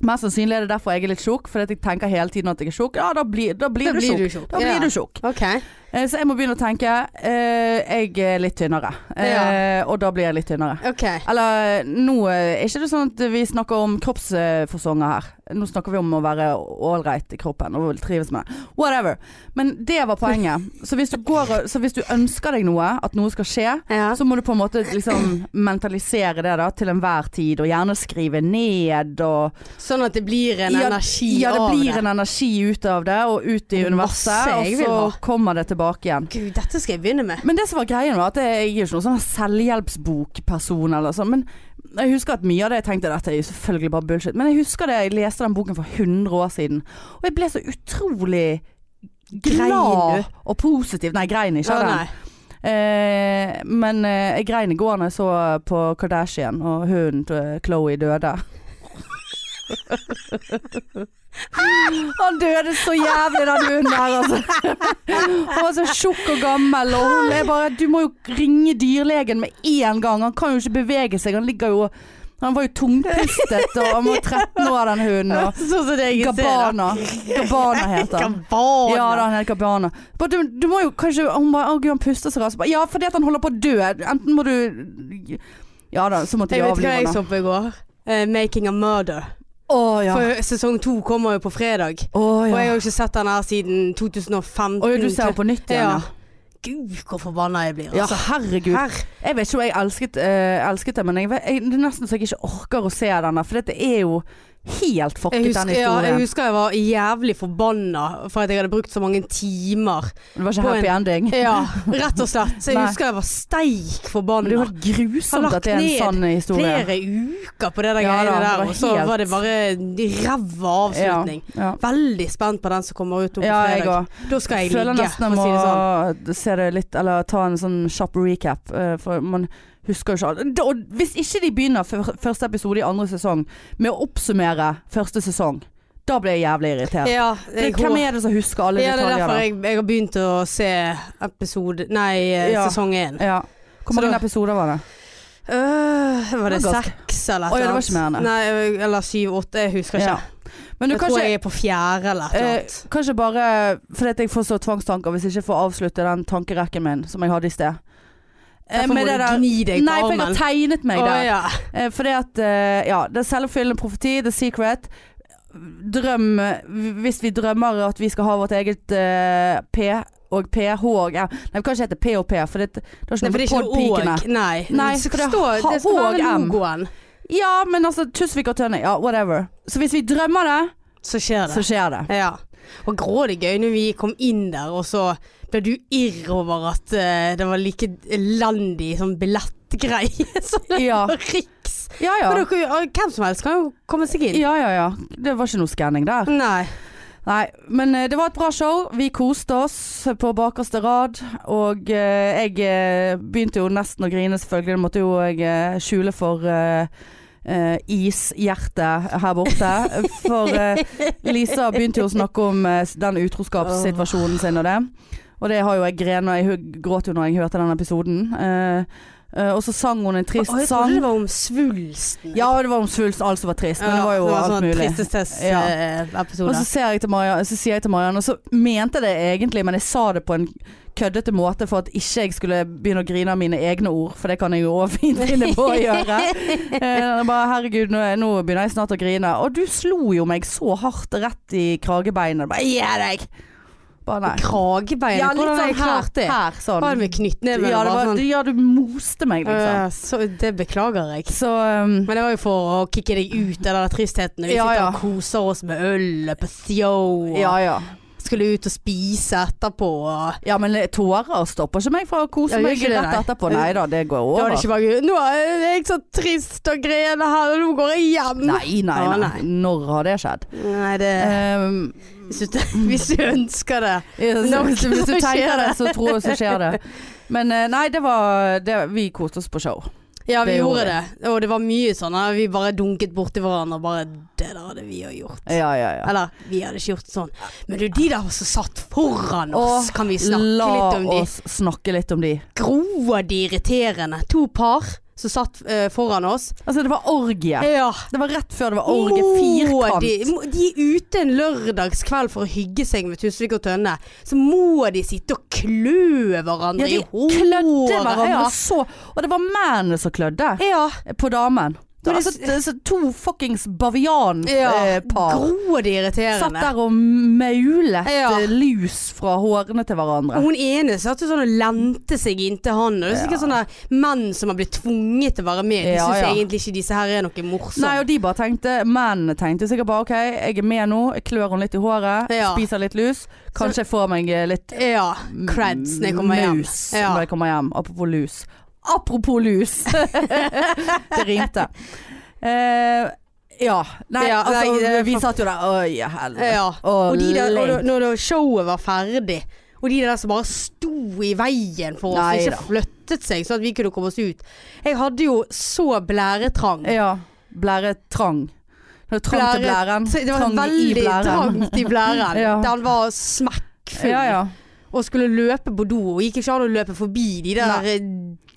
A: Mest sannsynlig er det derfor jeg er litt tjukk, fordi at jeg tenker hele tiden at jeg er tjukk. Ja, da blir, da blir
B: Da
A: du
B: blir
A: tjukk.
B: du tjukk.
A: Da blir
B: Ja.
A: du tjukk.
B: OK.
A: Eh, Så jeg må begynne å tenke eh, Jeg er litt tynnere. Eh, Og da blir jeg litt tynnere.
B: ok
A: Eller nå eh, er ikke det sånn at vi snakker om kroppsforsonger her. Nå snakker vi om å være ålreit i kroppen og trives med det. Whatever. Men det var poenget. Så hvis, du går, og- så hvis du ønsker deg noe, at noe skal skje,
B: Ja.
A: så må du på en måte liksom mentalisere det da til enhver tid, og gjerne skrive ned og
B: Sånn at det blir en energi
A: ja, det
B: av
A: blir
B: det.
A: en energi ut av det, og ut i
B: Masse
A: universet,
B: jeg
A: og
B: vil
A: så
B: ha.
A: kommer det tilbake igjen.
B: Gud, dette skal jeg begynne med.
A: Men det som var greia var at jeg er jo ikke noen sånn selvhjelpsbokperson eller sånn, men jeg husker at mye av det jeg tenkte dette er jo selvfølgelig bare bullshit, men jeg husker det jeg leste den boken for 100 år siden, og jeg ble så utrolig
B: Grein
A: glad
B: du?
A: og positiv. Nei, grein ikke
B: Å,
A: av den.
B: nei.
A: Eh, men eh, jeg grein i går når jeg så på Kardashian og hunden til Chloé døde. Han døde så jævlig, den hunden der, altså. Han var så tjukk og gammel, og hun er bare Du må jo ringe dyrlegen med en gang. Han kan jo ikke bevege seg. Han ligger jo Han var jo tungpustet, og han var 13 år, den hunden. Og
B: Sånn som det jeg ser. da.
A: Gabbana. Gabbana heter han.
B: Gabbana.
A: Ja da, han heter Gabbana. Bare, du, du må jo kanskje Hun bare 'Å gud, han puster så raskt'. Bare, Ja, fordi at han holder på å dø. Enten må du Ja da, så måtte de
B: Jeg vet hva
A: avlive
B: jeg
A: han. da.
B: så på i går. Eh, 'Making a Murder'.
A: Å ja.
B: For sesong to kommer jo på fredag.
A: Å
B: Og jeg
A: ja.
B: har jo ikke sett den her siden 2015.
A: Å, ja, du ser henne på nytt igjen, ja.
B: Gud, hvor forbanna jeg blir.
A: Ja,
B: Altså.
A: herregud.
B: Her.
A: Jeg vet ikke om jeg elsket, eh, elsket det, men jeg, vet- jeg, det er nesten så jeg ikke orker å se denne. For dette er jo helt
B: Jeg
A: fucket, den
B: husker, ja, jeg
A: historien.
B: husker jeg var jævlig forbanna for at jeg hadde brukt så mange timer.
A: det var ikke
B: på
A: happy
B: en-
A: ending.
B: Ja, rett og slett. Så jeg
A: Nei.
B: husker jeg var steik
A: Men det er jo
B: forbanna.
A: helt
B: Har
A: grusomt
B: lagt
A: at det er en
B: ned
A: sann historie.
B: Flere uker på det der
A: Ja da,
B: greiene
A: det var
B: der, og så
A: helt-
B: var det bare ræva avslutning.
A: Ja, ja.
B: Veldig spent på den som kommer ut nå på
A: ja jeg
B: fredag.
A: òg.
B: Da skal jeg
A: føler
B: ligge,
A: nesten
B: for
A: jeg må
B: å si det sånn.
A: se det litt, eller ta en sånn kjapp recap. eh, For man husker jo ikke alt. Da- Og hvis ikke de begynner fyr- første episode i andre sesong med å oppsummere første sesong, da blir jeg jævlig irritert.
B: Ja,
A: For
B: jeg
A: Hvem
B: håper-
A: er det som husker alle
B: ja, det er
A: detaljer?
B: derfor
A: da?
B: jeg, jeg har begynt å se episode Nei, eh,
A: Ja.
B: sesong én.
A: ja. Hvor
B: Så
A: mange
B: da-
A: episoder var det?
B: Øh, var det
A: Det var ganske-
B: seks seks
A: Å,
B: eller et
A: ja, det var
B: eller
A: ikke mer enn det.
B: Nei, øh, eller syv-åtte, jeg husker ikke.
A: Ja. Men du
B: jeg
A: kan
B: tror
A: ikke
B: jeg er på fjerde eller et eller
A: eh,
B: annet.
A: Kanskje bare fordi at jeg får så tvangstanker hvis jeg ikke får avslutte den tankerekken min som jeg hadde i sted. Eh,
B: Derfor må
A: med
B: du
A: det der-
B: gni deg på
A: Nei, for jeg
B: armen.
A: har tegnet meg
B: Å,
A: der.
B: ja.
A: Eh, fordi at eh, Ja, det er selvoppfyllende profeti, The Secret. Drøm Hvis vi drømmer at vi skal ha vårt eget eh, P og PH og M Nei, vi kan ikke hete P og P, for det, det har
B: Nei,
A: ikke
B: for
A: noe med
B: det er ikke noe
A: podpikene.
B: åk. Nei,
A: Nei,
B: det
A: for
B: skal
A: det
B: stå
A: har-
B: Det skal være
A: og M.
B: logoen.
A: Ja, men altså Tusvik og Tønne, ja, whatever. Så hvis vi drømmer det,
B: Så skjer
A: så
B: det.
A: skjer det.
B: Ja. Og grådig gøy når vi kom inn der, og så ble du irr over at eh, det var like elendig sånn billettgreie som det
A: Ja.
B: var Riks.
A: Ja ja.
B: Men dere, og hvem som helst kan jo komme seg inn.
A: Ja ja ja. Det var ikke noe skanning der.
B: Nei.
A: Nei, men eh, det var et bra show. Vi koste oss på bakerste rad. Og eh, jeg eh, begynte jo nesten å grine, selvfølgelig. Det måtte jo jeg eh, skjule for eh, eh, ishjertet her borte. For eh, Lisa begynte jo å snakke om eh, den utroskapssituasjonen sin og det. Og det har jo jeg grenet Jeg hu- gråt jo når jeg hørte den episoden. Eh, eh, og så sang hun en trist
B: Å, jeg
A: sang.
B: trodde det var om svulsten.
A: Ja, det var om svulst, alt som var trist. Men det var jo alt
B: sånn
A: mulig. Ja.
B: tristestes-episode.
A: Og så, ser jeg til Marianne, så sier jeg til Marianne, og så mente jeg det egentlig, men jeg sa det på en køddete måte for at ikke jeg skulle begynne å grine av mine egne ord, for det kan jeg jo også fint finne på å gjøre. Eh, bare herregud, nå, nå begynner jeg snart å grine. Og du slo jo meg så hardt rett i kragebeinet. Bare gi deg! Bare nei.
B: Kragebeinet,
A: Ja, litt
B: hvordan har
A: sånn
B: jeg
A: her,
B: klart det?
A: her sånn.
B: Var det med
A: Ja,
B: knyttneve?
A: det
B: bare
A: var,
B: sånn,
A: ja, du moste meg, liksom.
B: øh, så, det beklager jeg.
A: Så um,
B: Men det var jo for å kicke deg ut av den tristheten. Vi
A: Ja,
B: sitter
A: ja.
B: og koser oss med øl på show. og
A: ja ja.
B: Skulle ut og spise etterpå. Og
A: Ja, men tårer stopper ikke meg fra å kose
B: Ja, gjør
A: meg
B: ikke det,
A: rett
B: nei.
A: etterpå. Nei da, det går
B: da var
A: over.
B: det ikke bare Nå er jeg så trist og grener her, og nå går jeg hjem.
A: Nei, nei, nei.
B: Ja, Ah, nei. Eh.
A: Når har det skjedd?
B: Nei, det
A: Um,
B: hvis du, hvis du ønsker det.
A: så,
B: Nå-
A: hvis du
B: så skjer
A: tenker det,
B: det.
A: så tror jeg så skjer det. Men eh, nei, det var det, Vi koste oss på show.
B: Ja,
A: Det
B: vi
A: gjorde
B: gjorde det. Og det var mye sånn at vi bare dunket borti hverandre og bare Det der hadde vi jo gjort.
A: Ja, ja, ja.
B: Eller, vi hadde ikke gjort sånn. Men du, de der som satt foran oss,
A: Åh,
B: kan vi snakke
A: La
B: litt om de?
A: oss snakke litt om de.
B: Grådig irriterende. To par som satt eh, foran oss.
A: Altså, det var orgie.
B: Ja.
A: Det var rett før det var orgie.
B: Må De,
A: Firkant.
B: må- de er ute en lørdagskveld for å hygge seg med Tusvik og Tønne. Så må de sitte og klø
A: Ja,
B: hverandre
A: de
B: i håret.
A: klødde hverandre
B: Ja.
A: så. Og det var mennene som klødde
B: ja.
A: på damen. Altså, Det var
B: Ja.
A: så, så to fuckings bavianpar.
B: Grådig
A: eh, Satt
B: irriterende.
A: der og maulet
B: Ja.
A: eh, lus fra hårene til hverandre.
B: Og hun ene satt jo sånn og lente seg inntil han. Og det er sikkert sånne menn som har blitt tvunget til å være med. De
A: Ja,
B: syns
A: ja.
B: egentlig ikke disse her er noe morsomme.
A: Nei, og de bare tenkte Mennene tenkte sikkert bare OK, jeg er med nå. Jeg klør henne litt i håret.
B: Ja.
A: Spiser litt lus. Kanskje jeg får meg eh, litt
B: Ja. Creds når jeg kommer hjem.
A: mus
B: Ja.
A: når jeg kommer hjem. Apropos lus. Apropos lus! det rimte. Eh, ja. Nei,
B: Ja,
A: altså,
B: nei, det er
A: vi
B: for-
A: satt jo der Oi, helvete.
B: Ja.
A: Og,
B: Og de der, og da-
A: lenk.
B: når da showet var ferdig, og de der som bare sto i veien for oss,
A: Nei
B: og
A: da.
B: ikke flyttet seg sånn at vi kunne komme oss ut. Jeg hadde jo så blæretrang.
A: Ja. Blæretrang. Det var trang til
B: Blære-
A: blæren.
B: Så det var
A: trang i
B: veldig
A: blæren.
B: trangt i blæren.
A: Ja.
B: Den var smekkfull.
A: Ja, ja.
B: Og skulle løpe på do, og gikk ikke an å løpe forbi de der
A: Nei.
B: eh,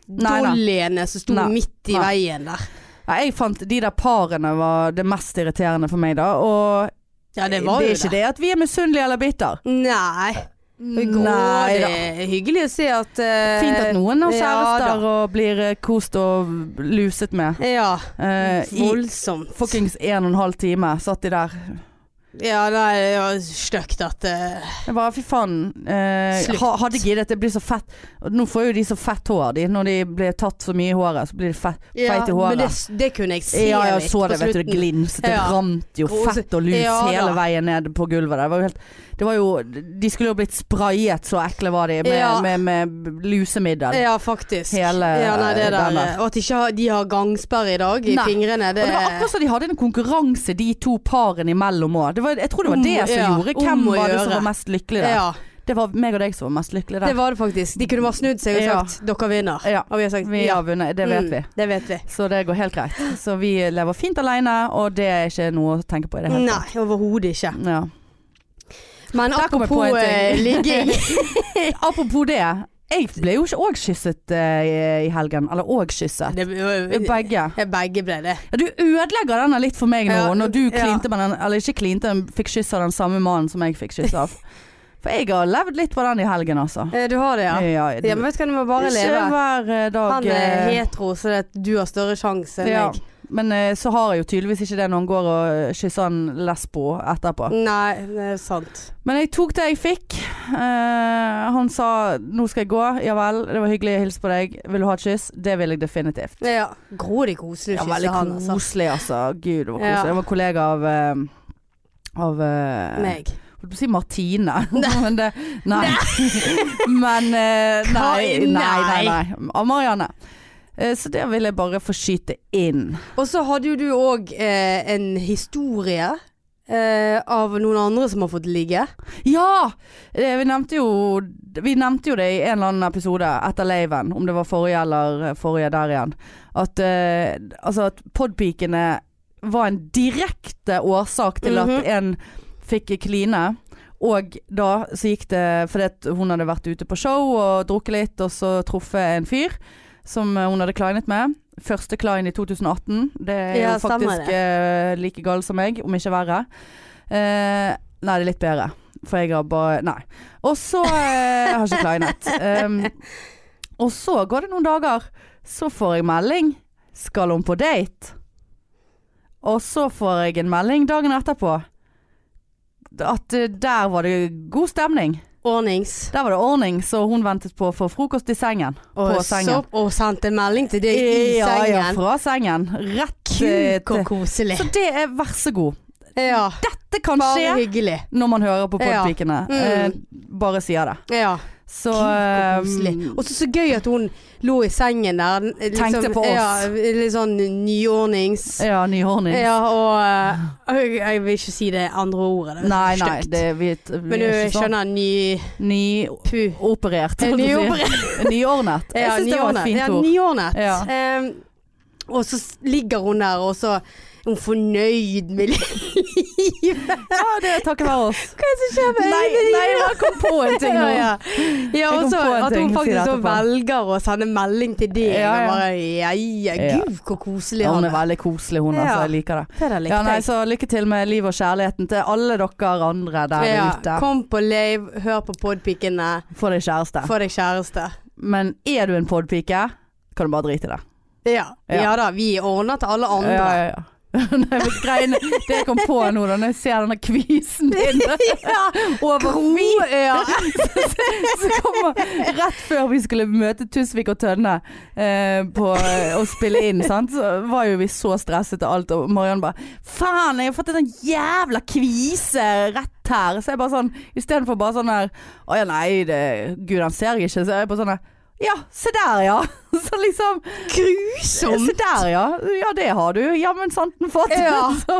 A: nei.
B: dolliene som sto
A: Nei.
B: midt i
A: Nei.
B: veien der.
A: Ja, jeg fant de der parene var det mest irriterende for meg, da. Og
B: Ja, Eh, det var
A: er
B: jo
A: ikke
B: det.
A: Eh, det at vi er misunnelige eller bitter.
B: Nei. Nei, det er hyggelig å se at eh,
A: Fint at noen har
B: ja da.
A: kjærester og blir eh, kost og luset med.
B: Ja.
A: Eh, I
B: Voldsomt.
A: fuckings en og en halv time satt de der.
B: Ja, nei, det var stygt at eh,
A: Jeg bare fy faen. eh,
B: Slutt.
A: ha- hadde giddet. Det blir så fett. Og Nå får jo de så fett hår, de. Når de blir tatt så mye i håret, så blir de fett, feit i
B: Men det,
A: håret.
B: det kunne jeg se
A: ja, jeg
B: litt
A: så
B: på
A: det, vet du. Det
B: slutten.
A: glinset. Det
B: Ja.
A: rant jo
B: Og så-
A: fett og lus
B: Ja, da.
A: hele veien ned på gulvet der. Det var jo helt, det var jo, de skulle jo blitt sprayet, så ekle var de, med,
B: Ja.
A: med, med lusemiddel.
B: Ja, faktisk.
A: Hele,
B: ja, nei, det
A: eh,
B: der,
A: den der.
B: eh, Og at de ikke har, de har gangsperre i dag i
A: Nei.
B: fingrene. Det,
A: Og
B: sånn,
A: det var akkurat som de hadde en konkurranse de to parene imellom òg. Jeg tror det var
B: Om-
A: det som
B: ja,
A: gjorde
B: om
A: hvem
B: å
A: var det som
B: gjøre.
A: var mest lykkelig der.
B: ja,
A: Det var meg og deg som var mest lykkelig
B: det
A: der.
B: var det faktisk. De kunne bare snudd seg og
A: Ja.
B: sagt 'dere vinner'.
A: Ja.
B: Og vi har sagt
A: Vi
B: ja.
A: har vunnet, det vet
B: Mm,
A: vi.
B: Det vet vi.
A: Så det går helt greit. Så vi lever fint alene, og det er ikke noe å tenke på i det hele
B: Nei, overhodet ikke.
A: tatt. Ja.
B: Men
A: Der kom jeg på
B: apropos
A: en ting.
B: eh, ligging.
A: Apropos det. Jeg ble jo ikke òg kysset eh, i helgen. Eller òg kysset.
B: Det,
A: Begge.
B: begge ble det.
A: Ja, du ødelegger denne litt for meg nå,
B: Ja,
A: når du
B: ja.
A: klinte med den Eller ikke klinte, men fikk kyss av den samme mannen som jeg fikk kyss av. For jeg har levd litt på den i helgen, altså.
B: Eh, Du har det, ja.
A: det-
B: ja men vet du hva, du må bare
A: Ikke
B: leve.
A: hver eh, dag.
B: Han er
A: eh,
B: hetero, så det, du har større sjanse enn
A: ja.
B: jeg.
A: Men eh, så har jeg jo tydeligvis ikke det når han går og eh, kysser en lesbo etterpå.
B: Nei, det er sant.
A: Men jeg tok det jeg fikk. Eh, han sa 'nå skal jeg gå', ja vel, det var hyggelig, hilse på deg, vil du ha et kyss? Det vil jeg definitivt.
B: Ja. Grådig koselig å
A: Ja,
B: kysse
A: veldig
B: han, altså.
A: koselig, altså. Gud, det var
B: Ja.
A: koselig. Jeg var kollega av eh, av eh,
B: Meg.
A: Jeg holdt på å si Martine, men det Nei. men eh, nei,
B: Hva?
A: nei, nei,
B: Nei.
A: nei. Av Marianne. Eh, Så det vil jeg bare få skyte inn.
B: Og så hadde jo du òg eh, en historie eh, av noen andre som har fått ligge.
A: Ja! eh, Vi nevnte jo Vi nevnte jo det i en eller annen episode etter laven, om det var forrige eller eh, forrige der igjen, at, eh, altså at podpikene var en direkte årsak til
B: Mhm.
A: at en fikk kline. Og da så gikk det fordi at hun hadde vært ute på show og drukket litt, og så truffet en fyr som eh, hun hadde klinet med. Første klin i 2018. Det er
B: Ja,
A: jo
B: stemmer
A: faktisk eh, like gal som meg, om ikke verre. Eh, nei, det er litt bedre. For jeg har bare Nei. Og så eh, Jeg har ikke kleinet. Um, og så går det noen dager, så får jeg melding. Skal hun på date? Og så får jeg en melding dagen etterpå. At eh, der var det god stemning.
B: Ordnings.
A: Der var det ordning, så hun ventet på å få frokost i sengen.
B: Og,
A: På sengen.
B: så- og sendte en melding til deg i
A: ja, ja,
B: sengen.
A: fra sengen. Rett eh,
B: Kuk og
A: til
B: koselig.
A: Så det er vær så god.
B: Ja.
A: Dette kan
B: Bare
A: skje
B: hyggelig.
A: når man hører på
B: Ja.
A: Podpikene.
B: Mm.
A: Eh, bare sier det.
B: Ja.
A: Så
B: Kuk og
A: eh,
B: koselig. Og så så gøy at hun lå i sengen der. den- Liksom,
A: Tenkte på oss.
B: Ja, litt sånn nyordnings.
A: Ja, ny ordning.
B: Ja, og eh, jeg, jeg vil ikke si det andre ordet. Det er
A: Nei,
B: så
A: nei,
B: stygt.
A: det, vi, vi
B: Men du
A: er ikke sånn
B: skjønner, ny pu.
A: nyoperert. holdt jeg på å si.
B: Nyoperert.
A: Nyordnet. Jeg
B: Ja,
A: syns det var et
B: nyordnet.
A: fint
B: Ja,
A: ord.
B: nyordnet.
A: Ja.
B: Ehm, og så s- ligger hun der, og så er hun fornøyd med livet.
A: Ja, det er takket være oss.
B: Hva er det som skjer med
A: Nei,
B: øynene
A: nei, jeg bare kom på en ting nå.
B: Ja, ja. ja
A: Jeg
B: og
A: kom
B: så
A: på en
B: at
A: ting,
B: hun
A: si det
B: faktisk så
A: etterpå.
B: velger å sende melding til deg.
A: Ja, ja.
B: Og bare, ja, ja, gud, hvor koselig
A: Ja,
B: han
A: hun er veldig koselig, hun. Altså,
B: Ja.
A: jeg liker det.
B: Det der likte
A: Ja, nei,
B: jeg.
A: så lykke til med livet og kjærligheten til alle dere andre der
B: Ja,
A: ute.
B: Kom på lave, hør på podpikene,
A: Få deg kjæreste.
B: få deg kjæreste.
A: Men er du en podpike, kan du bare drite i det.
B: Ja.
A: Ja.
B: ja da, vi ordner til alle andre.
A: Ja, ja, ja. Nei, men greiene, det jeg kom på nå, da når jeg ser denne kvisen din over
B: Gro, ja.
A: Så kommer Rett før vi skulle møte Tusvik og Tønne eh, på å spille inn, sant? så var jo vi så stresset og alt. Og Marianne bare 'faen, jeg har fått en sånn jævla kvise rett her'. Så jeg bare sånn istedenfor bare sånn her 'Å ja, nei, det, gud, han ser jeg ikke', så er jeg bare sånn her 'ja, se der, ja'. Så liksom
B: Grusomt!
A: Se der, ja. Ja, det har du. Ja, men santen fått.
B: Ja.
A: Så,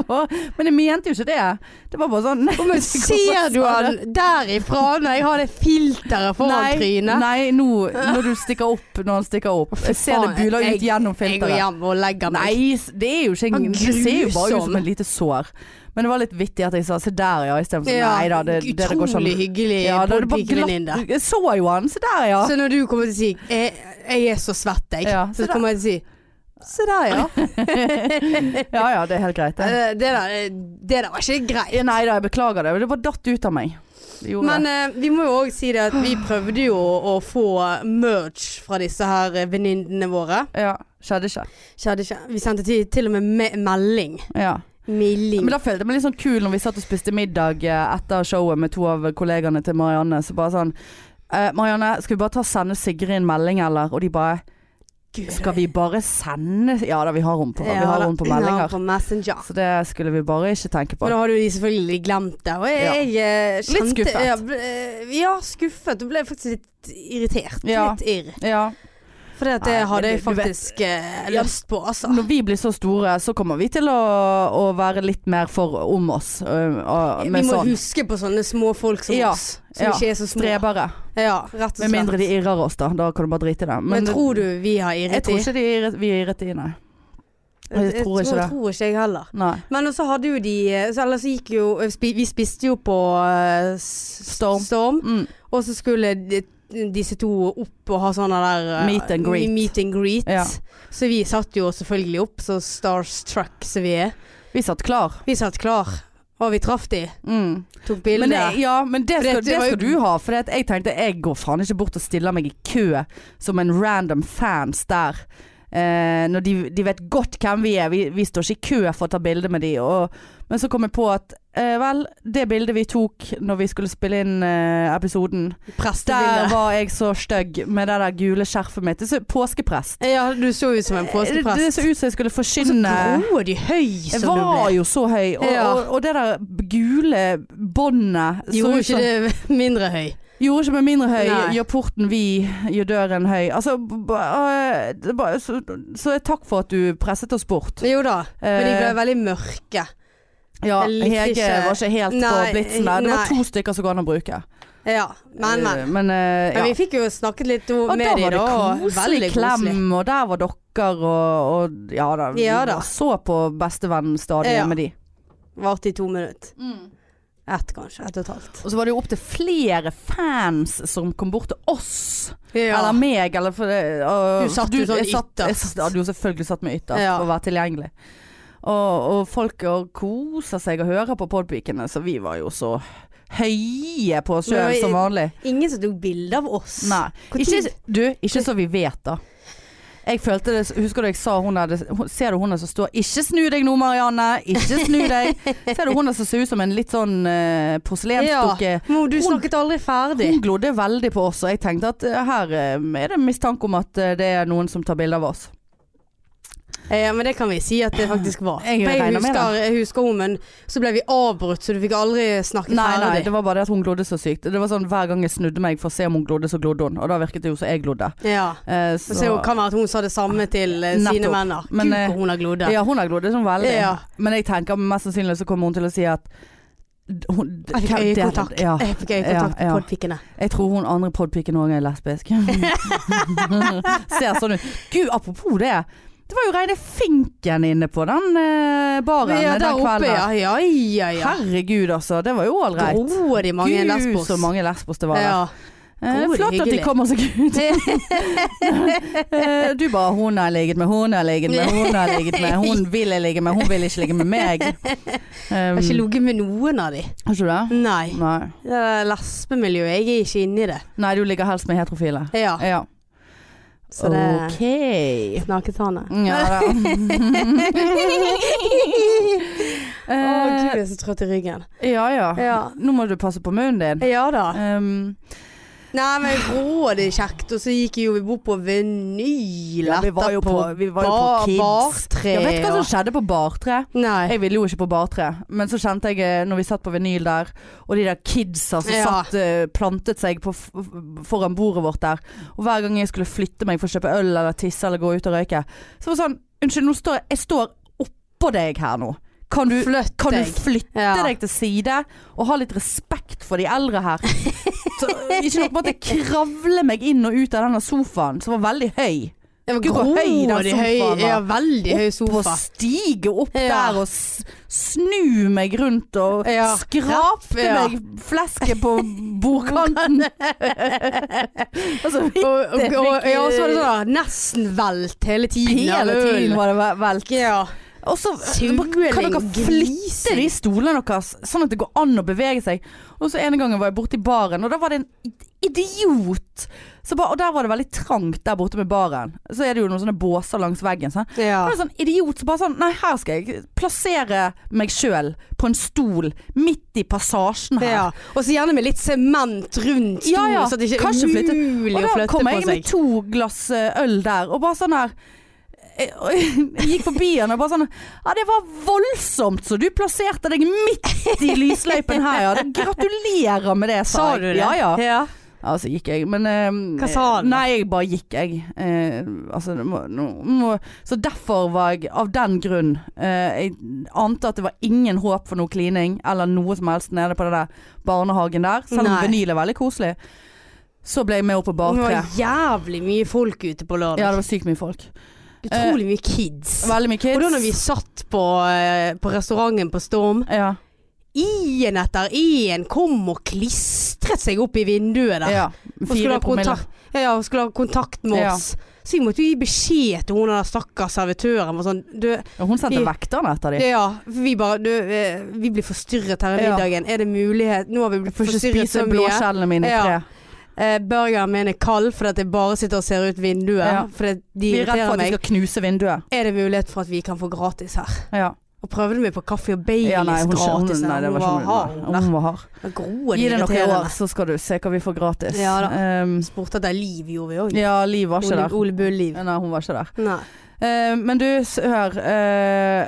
A: men jeg mente jo ikke det. Det sånn. var bare sånn
B: Og men ser du
A: sa det?
B: han derifra når jeg har det filteret foran
A: nei,
B: trynet?
A: Nei, nå når du stikker opp når han stikker opp. Jeg ser det
B: Faen,
A: buler
B: jeg-
A: ut gjennom
B: Jeg går
A: filteret.
B: hjem og legger meg.
A: Nei, s- det er jo ikke
B: Han
A: en, Det ser jo bare ut
B: grusom.
A: som et lite sår. Men det var litt vittig at jeg sa 'se der, ja', istedenfor
B: Ja,
A: altså, 'nei da', det, det, det går
B: Utrolig
A: sånn.
B: hyggelig
A: Ja, da er det bare
B: podpiken din der.
A: glatt. Jeg så jo han. Se der, ja.
B: Så når du kommer til å si jeg, 'jeg er så svett', jeg,
A: Ja,
B: så
A: så der.
B: kommer jeg til å si 'se der, ja'.
A: Ja ja, det er helt greit, det.
B: Eh, det, der, det der var ikke greit.
A: Ja, Nei da, jeg beklager det. men Det bare datt ut av meg. Det gjorde
B: Men
A: det.
B: eh, vi må jo òg si det at vi prøvde jo å, å få eh, merch fra disse her eh, venninnene våre.
A: Ja, skjedde ikke.
B: Skjedde ikke. Vi sendte til, til og med me melding.
A: Ja.
B: Melding.
A: Men da følte jeg meg litt sånn kul når vi satt og spiste middag eh, etter showet med to av kollegaene til Marianne. Så bare sånn «Eh, Marianne, skal vi bare ta og sende Sigrid en melding, eller? Og de bare
B: Gud,
A: Skal vi bare sende Ja da, vi har rom på, vi har
B: da.
A: rom på
B: Ja,
A: meldinger.
B: På Messenger.
A: Så det skulle vi bare ikke tenke på.
B: Men da hadde jo de selvfølgelig glemt det. Og jeg,
A: Ja.
B: jeg eh, kjente
A: Litt skuffet.
B: Ja, ble- eh, ja, skuffet. Og ble faktisk litt irritert.
A: Ja.
B: Litt irr.
A: Ja.
B: For det, at
A: Nei,
B: det
A: men
B: hadde
A: du-
B: jeg
A: du vet-
B: faktisk eh,
A: Ja.
B: lyst på, altså.
A: Når vi blir så store, så kommer vi til å, å være litt mer for om oss. ø, og-
B: Vi
A: med
B: må
A: sånn
B: huske på sånne små folk som
A: Ja.
B: oss. Som
A: Ja.
B: ikke er så små.
A: strebere.
B: Ja, rett og
A: Med
B: slett.
A: mindre de irrer oss, da. Da kan du bare drite i det.
B: Men, tror du vi har
A: Jeg
B: irret
A: tror
B: de?
A: ikke de irret, vi er irret i, nei. Jeg tror ikke det.
B: tror ikke jeg heller.
A: nei.
B: Men så hadde jo de eh, så Ellers gikk jo spi- Vi spiste jo på eh, s-
A: Storm.
B: Storm.
A: Mm.
B: Og så skulle de- disse to opp og ha sånne der eh,
A: Meet and greet.
B: meet and greet.
A: Ja.
B: Så vi satt jo selvfølgelig opp, så starstruck som vi er.
A: Vi satt klar.
B: Vi satt klar, og vi traff de.
A: Mm.
B: Tok
A: Men,
B: bilde.
A: det, ja, men det, skal,
B: det
A: det
B: var jo-
A: skal du ha. For jeg tenkte jeg går faen ikke bort og stiller meg i kø som en random fans der. Eh, når de, de vet godt hvem vi er. Vi, vi står ikke i kø for å ta bilde med de. Og, men så kom jeg på at eh, vel, det bildet vi tok når vi skulle spille inn eh, episoden, der
B: Prestebilde.
A: var jeg så stygg med det der gule skjerfet mitt. Det så påskeprest.
B: Ja, du så ut som en
A: Det, det
B: påskeprest.
A: så ut som jeg skulle
B: Og så
A: forkynne.
B: dro de høy
A: Jeg
B: som du
A: var
B: ble.
A: jo så høy, og,
B: Ja.
A: og, og det der gule båndet så
B: Gjorde
A: ut som-
B: ikke det mindre høy.
A: Gjorde ikke meg mindre høy,
B: Nei.
A: gjør porten vid, gjør døren høy. Altså, b- b- øh, det bare- så, så takk for at du presset oss bort.
B: Jo da, men de ble
A: Eh,
B: veldig mørke.
A: ja,
B: jeg likte
A: Hege
B: ikke-
A: var ikke helt
B: Nei,
A: på blitsen der. Det var
B: nei.
A: to stykker som går an å bruke.
B: Ja, men, men.
A: Eh, men, øh,
B: Men
A: ja.
B: vi fikk jo snakket litt om-
A: Og
B: med
A: da
B: de
A: var det
B: da. og
A: koselig
B: veldig koselig.
A: klem, og der var dokker og, og Ja da. vi
B: Ja da.
A: var Så på bestevennstadiet
B: Ja.
A: med de.
B: Varte i to minutter. Ett kanskje. Ett og et halvt.
A: Og så var det jo opptil flere fans som kom bort til oss. Eller
B: Eller-
A: meg, eller for det og-
B: Du satt jo sånn
A: jeg satt- jeg satt-
B: ytterst.
A: Jeg hadde jo selvfølgelig satt meg ytterst
B: Ja.
A: for å være tilgjengelig. Og, og folk og koser seg og hører på podpikene, så vi var jo så høye på oss
B: Men
A: sjøl
B: vi-
A: som vanlig.
B: Ingen som tok bilde av oss.
A: Nei.
B: Hvor
A: Ikke,
B: tid-
A: du, ikke så vi vet, da. Jeg følte det, Husker du jeg sa hun hadde hun- Ser du hun der som står 'Ikke snu deg nå, Marianne', 'ikke snu deg'. Ser du hun der som ser ut som en litt sånn uh, porselensdukke?
B: Mo, du
A: Hun-
B: snakket aldri ferdig.
A: Hun glodde veldig på oss, og jeg tenkte at eh, her eh, er det mistanke om at eh, det er noen som tar bilde av oss.
B: Eh, men det kan vi si at det faktisk var.
A: Jeg
B: For
A: regner med
B: husker, jeg husker hun, men så ble vi avbrutt, så du fikk aldri snakket
A: Nei, nei,
B: ferdig.
A: det var bare det at hun glodde så sykt. Det var sånn Hver gang jeg snudde meg for å se om hun glodde, så glodde hun. Og da virket det jo som jeg glodde.
B: Ja.
A: Eh,
B: Så det kan være at hun sa det samme til eh, sine
A: Nettopp.
B: venner.
A: Men,
B: Gud,
A: eh,
B: hvor hun har glodd.
A: ja, hun har glodd sånn veldig.
B: Ja.
A: Men jeg tenker mest sannsynlig så kommer hun til å si at d- hun, d-
B: Jeg fikk
A: hvem- det-
B: øyekontakt.
A: Ja,
B: Jeg fikk øyekontakt
A: Ja, ja.
B: på podpikene.
A: jeg tror hun andre podpiken òg er lesbisk. Ser sånn ut. Gud, apropos det. Det var jo Reine Finken inne på den eh, baren
B: Ja, der
A: den
B: oppe,
A: kvelden. altså.
B: ja. Ja, ja, ja.
A: Herregud, altså. Det var jo ålreit.
B: Dro de mange
A: Gud,
B: lesbos?
A: så mange lesbos det var. der.
B: Ja.
A: Eh,
B: Gode,
A: flott at de
B: hyggelig.
A: kommer seg ut. Eh, du bare 'hun har ligget med, hun har ligget med, hun har ligget med'. Hun vil jeg ligge med, hun vil ikke ligge med meg.
B: Jeg
A: Um,
B: har ikke ligget med noen av de.
A: har ikke du det?
B: Nei.
A: Nei.
B: Det er Lesbemiljøet, jeg er ikke inne i det.
A: Nei, du ligger helst med heterofile.
B: Ja.
A: Ja.
B: Så det er
A: OK. Mm,
B: snaketane.
A: Ja da.
B: Å gud,
A: Eh,
B: jeg er så trøtt i ryggen.
A: ja ja.
B: Ja.
A: Nå må du passe på munnen din.
B: Ja da.
A: Um,
B: Nei, men grådig kjekt. Og så gikk jo vi bort på vinyl
A: Ja, vi var jo på- vi var jo på Kids.
B: bartre.
A: jeg vet hva som
B: og-
A: skjedde på bartre.
B: Nei.
A: Jeg ville jo ikke på bartre, men så kjente jeg eh, når vi satt på vinyl der, og de der kidsa som
B: Ja.
A: satt eh, plantet seg på f f- foran bordet vårt der, og hver gang jeg skulle flytte meg for å kjøpe øl eller tisse eller gå ut og røyke, så var det sånn Unnskyld, nå står jeg, jeg står oppå deg her nå. Kan du,
B: Flytt
A: kan
B: deg.
A: du flytte
B: Ja.
A: deg til side og ha litt respekt for de eldre her? Så, eh, ikke nok med at jeg kravler meg inn og ut av denne sofaen, som var veldig høy.
B: Det var
A: Gud, hvor høy den
B: grådig høy.
A: sofaen var.
B: Ja, veldig høy
A: opp og
B: sofa.
A: stige opp
B: Ja.
A: der og s- snu meg rundt og
B: Ja.
A: skrape
B: Ja.
A: meg flesket på bordkanten. altså,
B: Og, og,
A: Det
B: og,
A: fikk-
B: ja, og så var det sånn da, nesten velt hele tiden. av
A: hele
B: øl.
A: tiden var det ve- velk.
B: Ja.
A: Og så
B: Suling,
A: kan dere flytte
B: grising.
A: de stolene deres, sånn at det går an å bevege seg. Og så ene gangen var jeg borte i baren, og da var det en idiot. Så ba, og der var det veldig trangt der borte med baren. Så er det jo noen sånne båser langs veggen. Sånn.
B: ja.
A: Det var en sånn idiot som bare sånn Nei, her skal jeg plassere meg sjøl på en stol midt i passasjen her.
B: Ja. Og så gjerne med litt sement rundt stolen,
A: Ja, ja.
B: så det ikke
A: Kanskje
B: er
A: flytte-
B: umulig
A: Og
B: å
A: da
B: flytte
A: kom
B: på
A: jeg med
B: seg.
A: to glass eh, øl der, og bare sånn her jeg og jeg gikk forbi han og bare sånn Ja, det var voldsomt, så du plasserte deg midt i lysløypen her, ja. Gratulerer med det, sa,
B: Sa
A: jeg.
B: du det?
A: Ja, ja.
B: ja.
A: Ja, så gikk jeg, men eh,
B: Hva sa han da?
A: Nei, jeg bare gikk, jeg. Eh, altså, det må, nå, må, så derfor var jeg, av den grunn eh, Jeg ante at det var ingen håp for noe klining eller noe som helst nede på den der barnehagen der, selv om
B: Nei.
A: vinyl er veldig koselig. Så ble jeg med opp på
B: Det
A: baktre.
B: var jævlig mye folk ute på
A: Ja, Eh,
B: lørdag.
A: det var sykt mye folk.
B: Utrolig mye kids.
A: Veldig mye
B: Og da når vi
A: kids.
B: satt på, eh, på restauranten på Storm,
A: Ja.
B: I-en etter I-en kom og klistret seg opp i vinduet der.
A: Ja,
B: Og skulle
A: fire
B: ha
A: promille.
B: kontakt, ja, ja, og skulle ha kontakt med
A: Ja.
B: oss. Så vi måtte jo gi beskjed til hun der stakkars servitøren. Og sånn, du,
A: Og hun sendte
B: Vi-
A: vekterne etter dem.
B: ja, vi bare du, eh, Vi blir forstyrret her i
A: Ja.
B: middagen. Er det mulighet? Nå har vi blitt
A: Får ikke
B: forstyrret
A: spise
B: så mye.
A: blåskjellene mine i
B: Ja.
A: fred.
B: Eh, Burgeren min er kald fordi at jeg bare sitter og ser ut vinduet.
A: Ja.
B: Fordi de
A: Vi er redd for
B: irriterer
A: at de
B: meg.
A: skal knuse vinduet.
B: Er det mulighet for at vi kan få gratis her?
A: Ja,
B: Og prøvde meg på kaffe og Baileys
A: ja nei, hun, hun,
B: gratis.
A: nei, det var ikke
B: hard.
A: mulig. Hun var hard.
B: Groen
A: Gi det noen år,
B: irriterende.
A: så skal du se hva vi får gratis.
B: Ja da.
A: Ehm,
B: Spurte etter Liv, gjorde vi òg.
A: ja, Liv var ikke
B: Ole,
A: der.
B: Ole Bull-Liv.
A: Nei, hun var ikke der.
B: Nei.
A: Eh, men du, s- hør. eh,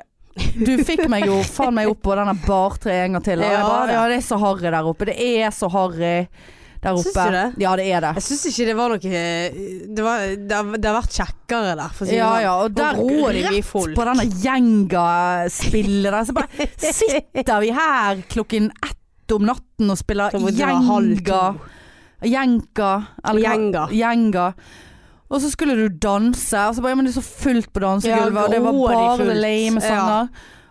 A: du fikk meg jo faen meg opp på denne bartreet en gang til. Og jeg
B: Ja,
A: bare,
B: da.
A: ja, det er så harry der oppe. Det er så harry der oppe.
B: Syns du det?
A: Ja, det er det.
B: Jeg syns ikke det var noe Det, var, det, har, det har vært kjekkere der, for å si det
A: Ja,
B: sånn.
A: ja, og der
B: Nå gror det mye
A: rett
B: folk.
A: på denne gjenga-spillet der, så bare sitter vi her klokken ett om natten og spiller
B: Da må det være halv
A: gjenga.
B: to.
A: Gjenga. eller hva-
B: Gjenga.
A: Gjenga. Og så skulle du danse, og så bare ja, men det er så fullt på dansegulvet,
B: Ja,
A: og det var
B: grådig
A: bare
B: fullt.
A: lame
B: Ja.
A: sanger.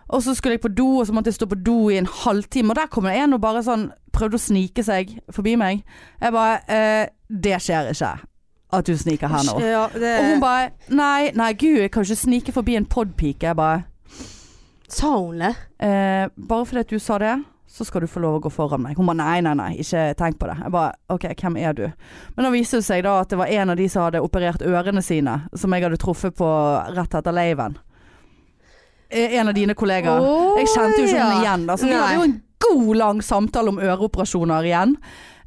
A: Og så skulle jeg på do, og så måtte jeg stå på do i en halvtime, og der kom det en og bare sånn prøvde å snike seg forbi meg. Jeg bare eh, Det skjer ikke at du sniker her nå.
B: Ja, det,
A: Og hun bare Nei, nei gud, jeg kan ikke snike forbi en podpike. Jeg bare
B: Sa hun det?
A: eh, Bare fordi at du sa det, så skal du få lov å gå foran meg. Hun bare nei, nei, nei, ikke tenk på det. Jeg bare OK, hvem er du? Men da viste det seg da at det var en av de som hadde operert ørene sine, som jeg hadde truffet på rett etter laven. Eh, En av dine kollegaer. Jeg kjente jo ikke
B: ja.
A: henne igjen, da, så vi
B: Nei.
A: hadde jo en god, lang samtale om øreoperasjoner igjen.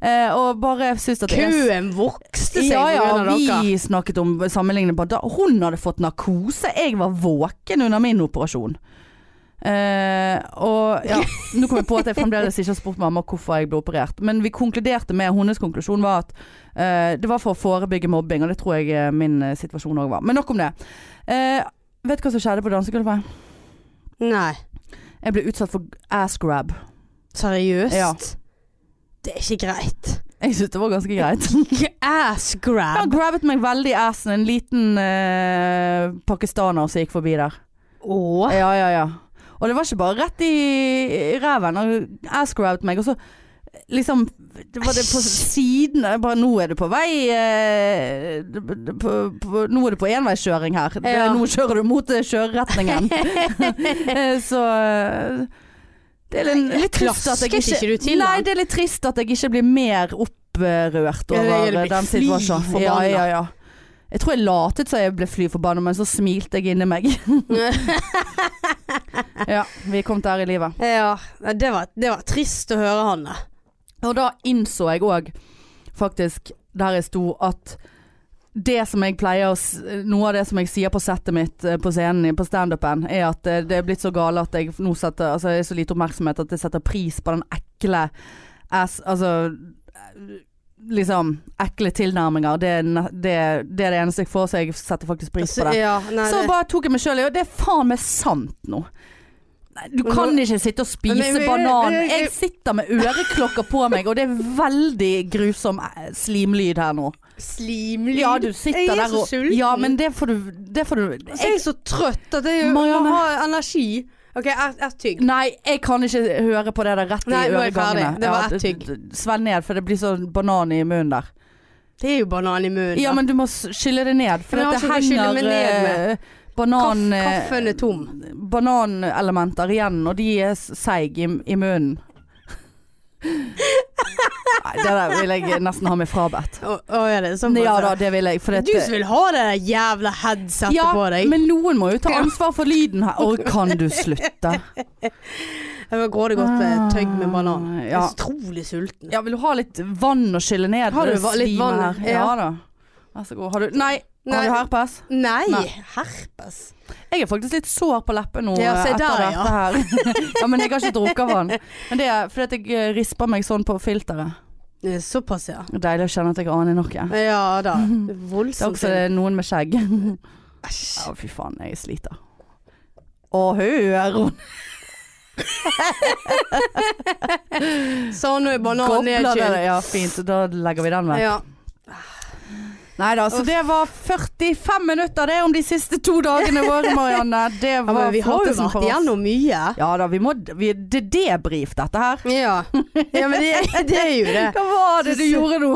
A: Eh, og bare syns at det er
B: Køen vokste seg
A: Ja,
B: på grunn
A: ja,
B: av dere.
A: vi snakket om sammenlignet på da hun hadde fått narkose. Jeg var våken under min operasjon. Eh, og ja, nå kom jeg på at jeg fremdeles ikke har spurt mamma hvorfor jeg ble operert. Men vi konkluderte med, hennes konklusjon var at eh, det var for å forebygge mobbing, og det tror jeg eh, min eh, situasjon òg var. Men nok om det. Eh, vet du hva som skjedde på dansegulvet?
B: Nei.
A: Jeg ble utsatt for ass grab.
B: Seriøst?
A: Ja.
B: Det er ikke greit.
A: Jeg syntes det var ganske greit.
B: Ass
A: Han
B: grab.
A: grabbet meg veldig i assen. En liten eh, pakistaner som gikk forbi der.
B: Åh.
A: Ja, ja, ja. Og det var ikke bare rett i ræven. Han ass-grabbed meg, og så liksom det var det på siden jeg bare, Nå er det på vei eh, på, på, Nå er det på enveiskjøring her. Det,
B: Ja.
A: Nå kjører du mot eh, kjøreretningen. Eh, så eh, det er litt,
B: Nei,
A: litt trist at jeg
B: klasket
A: ikke,
B: ikke du til
A: Nei,
B: den?
A: det er litt trist at jeg ikke blir mer opprørt
B: Ja, det
A: over
B: gjelder å bli
A: den
B: fly
A: situasjonen. Ja,
B: forbanna.
A: ja, ja. Jeg tror jeg latet som jeg ble fly forbanna, men så smilte jeg inni meg. ja, vi kom der i livet.
B: Ja. Nei, Det var, det var trist å høre, Hanne.
A: Og da innså jeg òg, faktisk, der jeg sto, at det som jeg pleier å s- Noe av det som jeg sier på settet mitt eh, på scenen, på standupen, er at eh, det er blitt så gale at jeg nå setter Altså, jeg er så lite oppmerksomhet at jeg setter pris på den ekle ass Altså eh, Liksom ekle tilnærminger. Det, er ne- det, det er det eneste jeg får, så jeg setter faktisk pris på det.
B: Ja, nei,
A: Så
B: det-
A: bare tok jeg meg sjøl i, og det er faen meg sant nå. Nei, Du
B: Men
A: kan
B: nå-
A: ikke sitte og
B: Men-
A: spise
B: men-
A: banan.
B: men-
A: Jeg sitter med øreklokker på meg, og det er veldig grusom eh, slimlyd her nå.
B: Slimlyd.
A: Ja, du sitter
B: Jeg er
A: der
B: så
A: og
B: sulten.
A: Ja, men det får du, det får du
B: Altså, jeg
A: jeg,
B: er så trøtt at jeg må
A: Marianne.
B: ha energi. OK, ett et tygg.
A: Nei, jeg kan ikke høre på det der rett i
B: Nei, nå er jeg
A: øregangene.
B: ferdig. Det var
A: Ja,
B: ett
A: d-
B: tygg.
A: d- Svelg ned, for det blir sånn banan i munnen der.
B: Det er jo banan i munnen.
A: Ja,
B: da.
A: men du må s- skylle det ned, for
B: Men jeg
A: at det
B: har ikke noe å skylle meg
A: henger
B: ned
A: eh, banan...
B: Kaff-
A: eh,
B: kaffen er tom.
A: bananelementer igjen, og de er s- seig i, i munnen. Nei, det der vil jeg nesten ha meg frabedt.
B: Å, å, er det sånn?
A: Ja da,
B: bare?
A: det vil jeg. For eh,
B: Du som vil ha det der jævla headsetet
A: ja,
B: på deg.
A: men noen må jo ta ansvar for lyden her. Å, kan du slutte?
B: Jeg var grådig godt eh, tøgg med banan. Jeg
A: Ja.
B: er så utrolig sulten.
A: Ja, vil du ha litt vann å skylle ned?
B: Har du
A: Det
B: va- litt
A: slimer
B: vann?
A: her. Ja.
B: Ja.
A: da. Vær så god. Har du Nei,
B: Nei.
A: har du herpes?
B: Nei,
A: Nei.
B: herpes.
A: Jeg er faktisk litt sår på leppen nå
B: Ja,
A: eh,
B: se
A: etter
B: der,
A: dette her. ja, men jeg har ikke drukket vann. Men det er fordi at jeg eh, risper meg sånn på filteret.
B: Eh, Såpass, ja.
A: Deilig å kjenne at jeg aner noe.
B: Ja da.
A: Det er
B: Voldsomt.
A: også noen med skjegg. Å,
B: Æsj.
A: fy faen, jeg sliter. Å, hør!
B: Sånn er banan
A: Gobler det.
B: nedkjølt.
A: Ja, fint. Da legger vi den vekk.
B: Ja.
A: Nei da, så det var 45 minutter det om de siste to dagene våre, Marianne. Det
B: Ja,
A: var
B: men vi har jo
A: flottesen for
B: vært
A: oss.
B: igjennom mye.
A: Ja da, vi må vi, Det er debrief, dette her.
B: Ja. ja, men det, det er jo det.
A: Hva var det du
B: Så-
A: gjorde nå?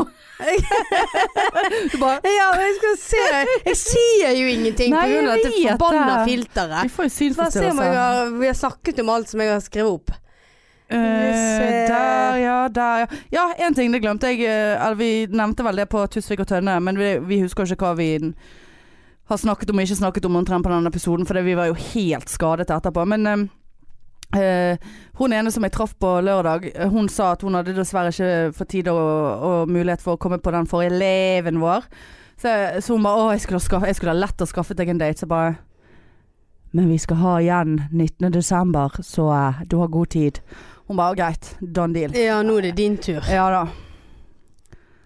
A: Du bare
B: Ja, men jeg skal se Jeg sier jo ingenting
A: Nei,
B: pga.
A: jeg
B: dette
A: vet det.
B: forbanna
A: Vi
B: filteret.
A: får jo
B: Bare se om jeg
A: synsforstyrrelse.
B: har, vi har snakket om alt som jeg har skrevet opp.
A: Eh,
B: se.
A: der, ja, der, ja. Ja, én ting, det glemte jeg. eh, Eller vi nevnte vel det på Tusvik og Tønne, men vi, vi husker jo ikke hva vi har snakket om og ikke snakket om omtrent på den episoden, for det, vi var jo helt skadet etterpå. Men eh, eh, hun ene som jeg traff på lørdag, eh, hun sa at hun hadde dessverre ikke fått tid og, og mulighet for å komme på den forrige eleven vår. Så, så hun bare 'Å, jeg skulle, ha skaff- jeg skulle ha lett å skaffet deg en date', så bare Men vi skal ha igjen 19. desember, så eh, du har god tid. Hun bare 'Greit, done deal'.
B: Ja, nå er det din tur.
A: Ja da.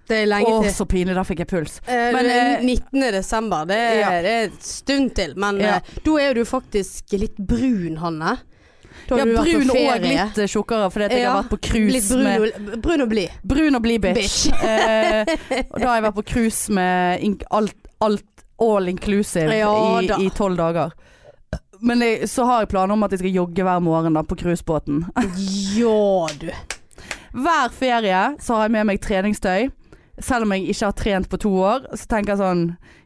B: Det er lenge
A: Å,
B: til.
A: så pinlig. Der fikk jeg puls.
B: Eh,
A: men,
B: det-
A: eh,
B: 19. desember, det er,
A: ja.
B: det er en stund til. Men
A: Ja.
B: eh, da er jo du faktisk litt brun, Hanne. Da har
A: Ja,
B: du vært på
A: brun
B: ferie.
A: og litt eh, tjukkere, fordi at jeg
B: Ja,
A: har vært på cruise
B: Litt brun,
A: med
B: og, brun og blid.
A: Brun og blid bitch.
B: Bitch.
A: eh, og da har jeg vært på cruise med ink- alt, alt all inclusive
B: Ja da.
A: i- i tolv dager. Men jeg, så har jeg planer om at jeg skal jogge hver morgen da, på cruisebåten.
B: Ja, du.
A: Hver ferie så har jeg med meg treningstøy. Selv om jeg ikke har trent på to år, så tenker jeg sånn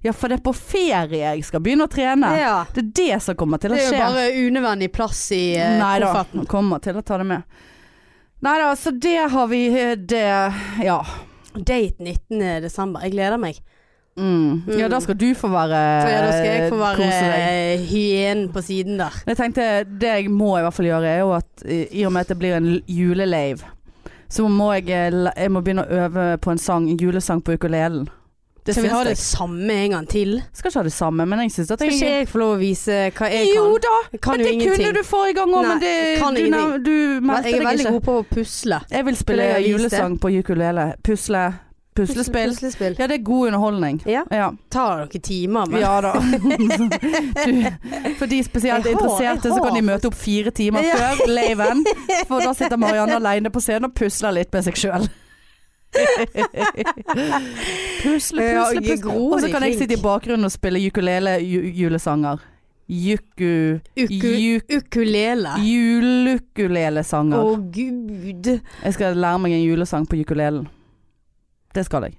A: Ja, for det er på ferie jeg skal begynne å trene.
B: Ja.
A: Det er det som kommer til å
B: Det er
A: skje.
B: jo bare unødvendig plass i eh,
A: Nei da,
B: kofferten.
A: kommer til å ta det med. Nei da, så det har vi eh, Det Ja.
B: Date 19. desember. Jeg gleder meg.
A: Mm. Ja,
B: Mm.
A: da skal du få være
B: Så ja, da skal jeg få være
A: kose deg.
B: eh, hyenen på siden der.
A: Men Jeg tenkte, det jeg må i hvert fall gjøre, er jo at eh, i og med at det blir en l- julelave, så må jeg, eh, la- jeg må begynne å øve på en sang, en julesang på ukulelen. Det
B: Skal vi
A: syns
B: ha
A: jeg.
B: det samme en gang til?
A: Skal ikke ha det samme, men jeg syns at
B: Skal
A: jeg
B: ikke jeg få lov å vise hva jeg
A: Jo
B: kan?
A: da!
B: Jeg kan
A: men
B: jo
A: det kunne
B: ingenting.
A: du forrige gang òg, men
B: Nei,
A: det,
B: jeg kan
A: du,
B: ingenting.
A: nev- du meldte
B: Jeg er
A: deg
B: veldig
A: ikke.
B: god på å pusle.
A: Jeg vil
B: Vil
A: spille
B: jeg vise det?
A: julesang på ukulele. Pusle. Puslespill.
B: Puslespill.
A: Ja, det er god underholdning.
B: Ja.
A: Ja.
B: Tar dere timer? Men.
A: Ja da. Du, for de spesielt
B: Jeg har-
A: interesserte,
B: jeg
A: så kan de
B: har-
A: møte opp fire timer
B: Ja.
A: før laven. For da sitter Marianne aleine på scenen og pusler litt med seg sjøl. Pusle, pusle,
B: Ja, jeg er
A: pusle.
B: grådig
A: Og så kan jeg
B: flink.
A: sitte i bakgrunnen og spille ukulele-julesanger. Juku...
B: Uku
A: ju-
B: ukulele. Å
A: Juleukulelesanger.
B: gud.
A: Jeg skal lære meg en julesang på ukulelen. Det skal jeg.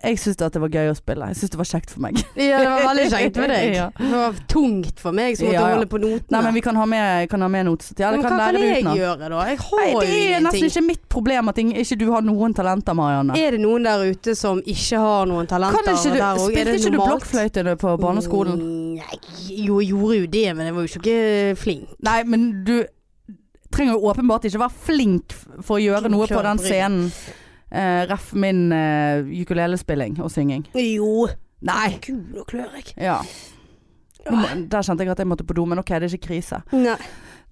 A: Jeg syns det var gøy å spille. Jeg syns det var kjekt for meg.
B: Ja, det var veldig kjekt med deg.
A: Ja.
B: Det var tungt for meg som måtte
A: Ja, ja.
B: holde på notene.
A: Nei, men vi kan ha med, kan ha med notes. Ja, det
B: Men
A: kan
B: hva
A: lære det
B: kan jeg
A: utenat.
B: gjøre da? Jeg har
A: Nei,
B: jo
A: det er nesten
B: ingenting.
A: ikke mitt problem at ing- ikke du har noen talenter, Marianne.
B: Er det noen der ute som ikke har noen
A: Kan
B: talenter
A: ikke du,
B: der òg?
A: spilte ikke du blokkfløyte da på barneskolen?
B: Mm, Nei, jo, jeg gjorde jo det, men jeg var jo ikke flink.
A: Nei, men du trenger jo åpenbart ikke være flink f- for å gjøre noe på den scenen. Eh, ref min eh, ukulelespilling og synging.
B: Jo.
A: Nei!
B: Gud, nå klør jeg.
A: Ja. Nå må- Der kjente jeg at jeg måtte på do, men ok, det er ikke krise.
B: Nei.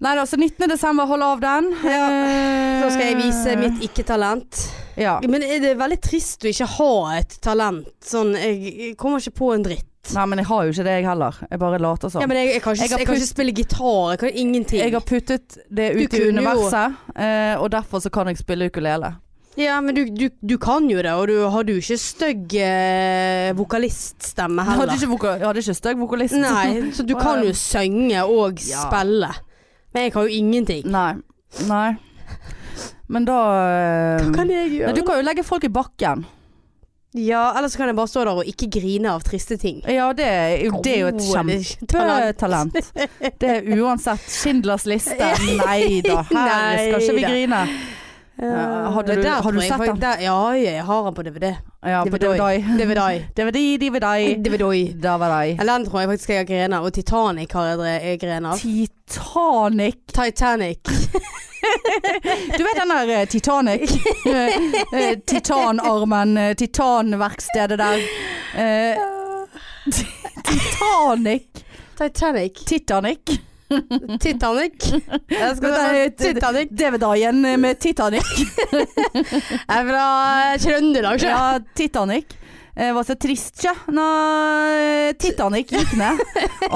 A: Nei da, så 19. desember, hold av den.
B: Ja.
A: Eh,
B: Da skal jeg vise mitt ikke-talent.
A: Ja.
B: Men er det veldig trist å ikke ha et talent? Sånn, jeg, jeg kommer ikke på en dritt.
A: Nei, men jeg har jo ikke det, jeg heller. Jeg bare later som.
B: Ja, men jeg, jeg, kan, ikke,
A: Jeg har
B: jeg kan
A: pust-
B: ikke spille gitar. Jeg kan ingenting.
A: Jeg har puttet det ut i
B: kunne jo-
A: universet, eh, og derfor så kan jeg spille ukulele.
B: Ja, men du, du, du kan jo det, og du har jo ikke stygg eh, vokaliststemme
A: Jeg hadde
B: heller.
A: ikke, voka- jeg hadde ikke støgg vokalist.
B: Nei, så du kan jo synge og
A: Ja.
B: spille. Men jeg kan jo ingenting.
A: Nei. Nei. Men da eh,
B: Hva kan jeg
A: Nei,
B: gjøre?
A: Du kan jo legge folk i bakken.
B: Ja, Eller så kan jeg bare stå der og ikke grine av triste ting.
A: Ja, det er jo, det er jo et
B: Åh, det er ikke talent.
A: kjempetalent. Det er uansett Schindlers liste. Nei da, her
B: Nei
A: skal ikke vi
B: da.
A: grine.
B: Ja,
A: hadde
B: det
A: du-
B: der
A: har
B: tror
A: du
B: jeg
A: sett
B: faktisk-
A: den?
B: Der, ja, ja, jeg har den på DVD.
A: Ja, på
B: Dividoi.
A: DVD.
B: DVD.
A: DVD, DVD.
B: DVD.
A: DVD.
B: Eller den tror jeg faktisk jeg har grener, og Titanic har jeg dre- jeg grener av.
A: Titanic.
B: Titanic.
A: Du vet den der eh, Titanic? Eh, eh, Titanarmen, eh, titanverkstedet der. Eh, Titanic.
B: Titanic.
A: Titanic.
B: Titanic. Jeg skal
A: Dette er
B: se
A: et-
B: Titanic.
A: DVD-en med Titanic.
B: Jeg er fra Trøndelag, sjø.
A: Ja, Titanic. Det var så trist, ja, når Titanic gikk ned.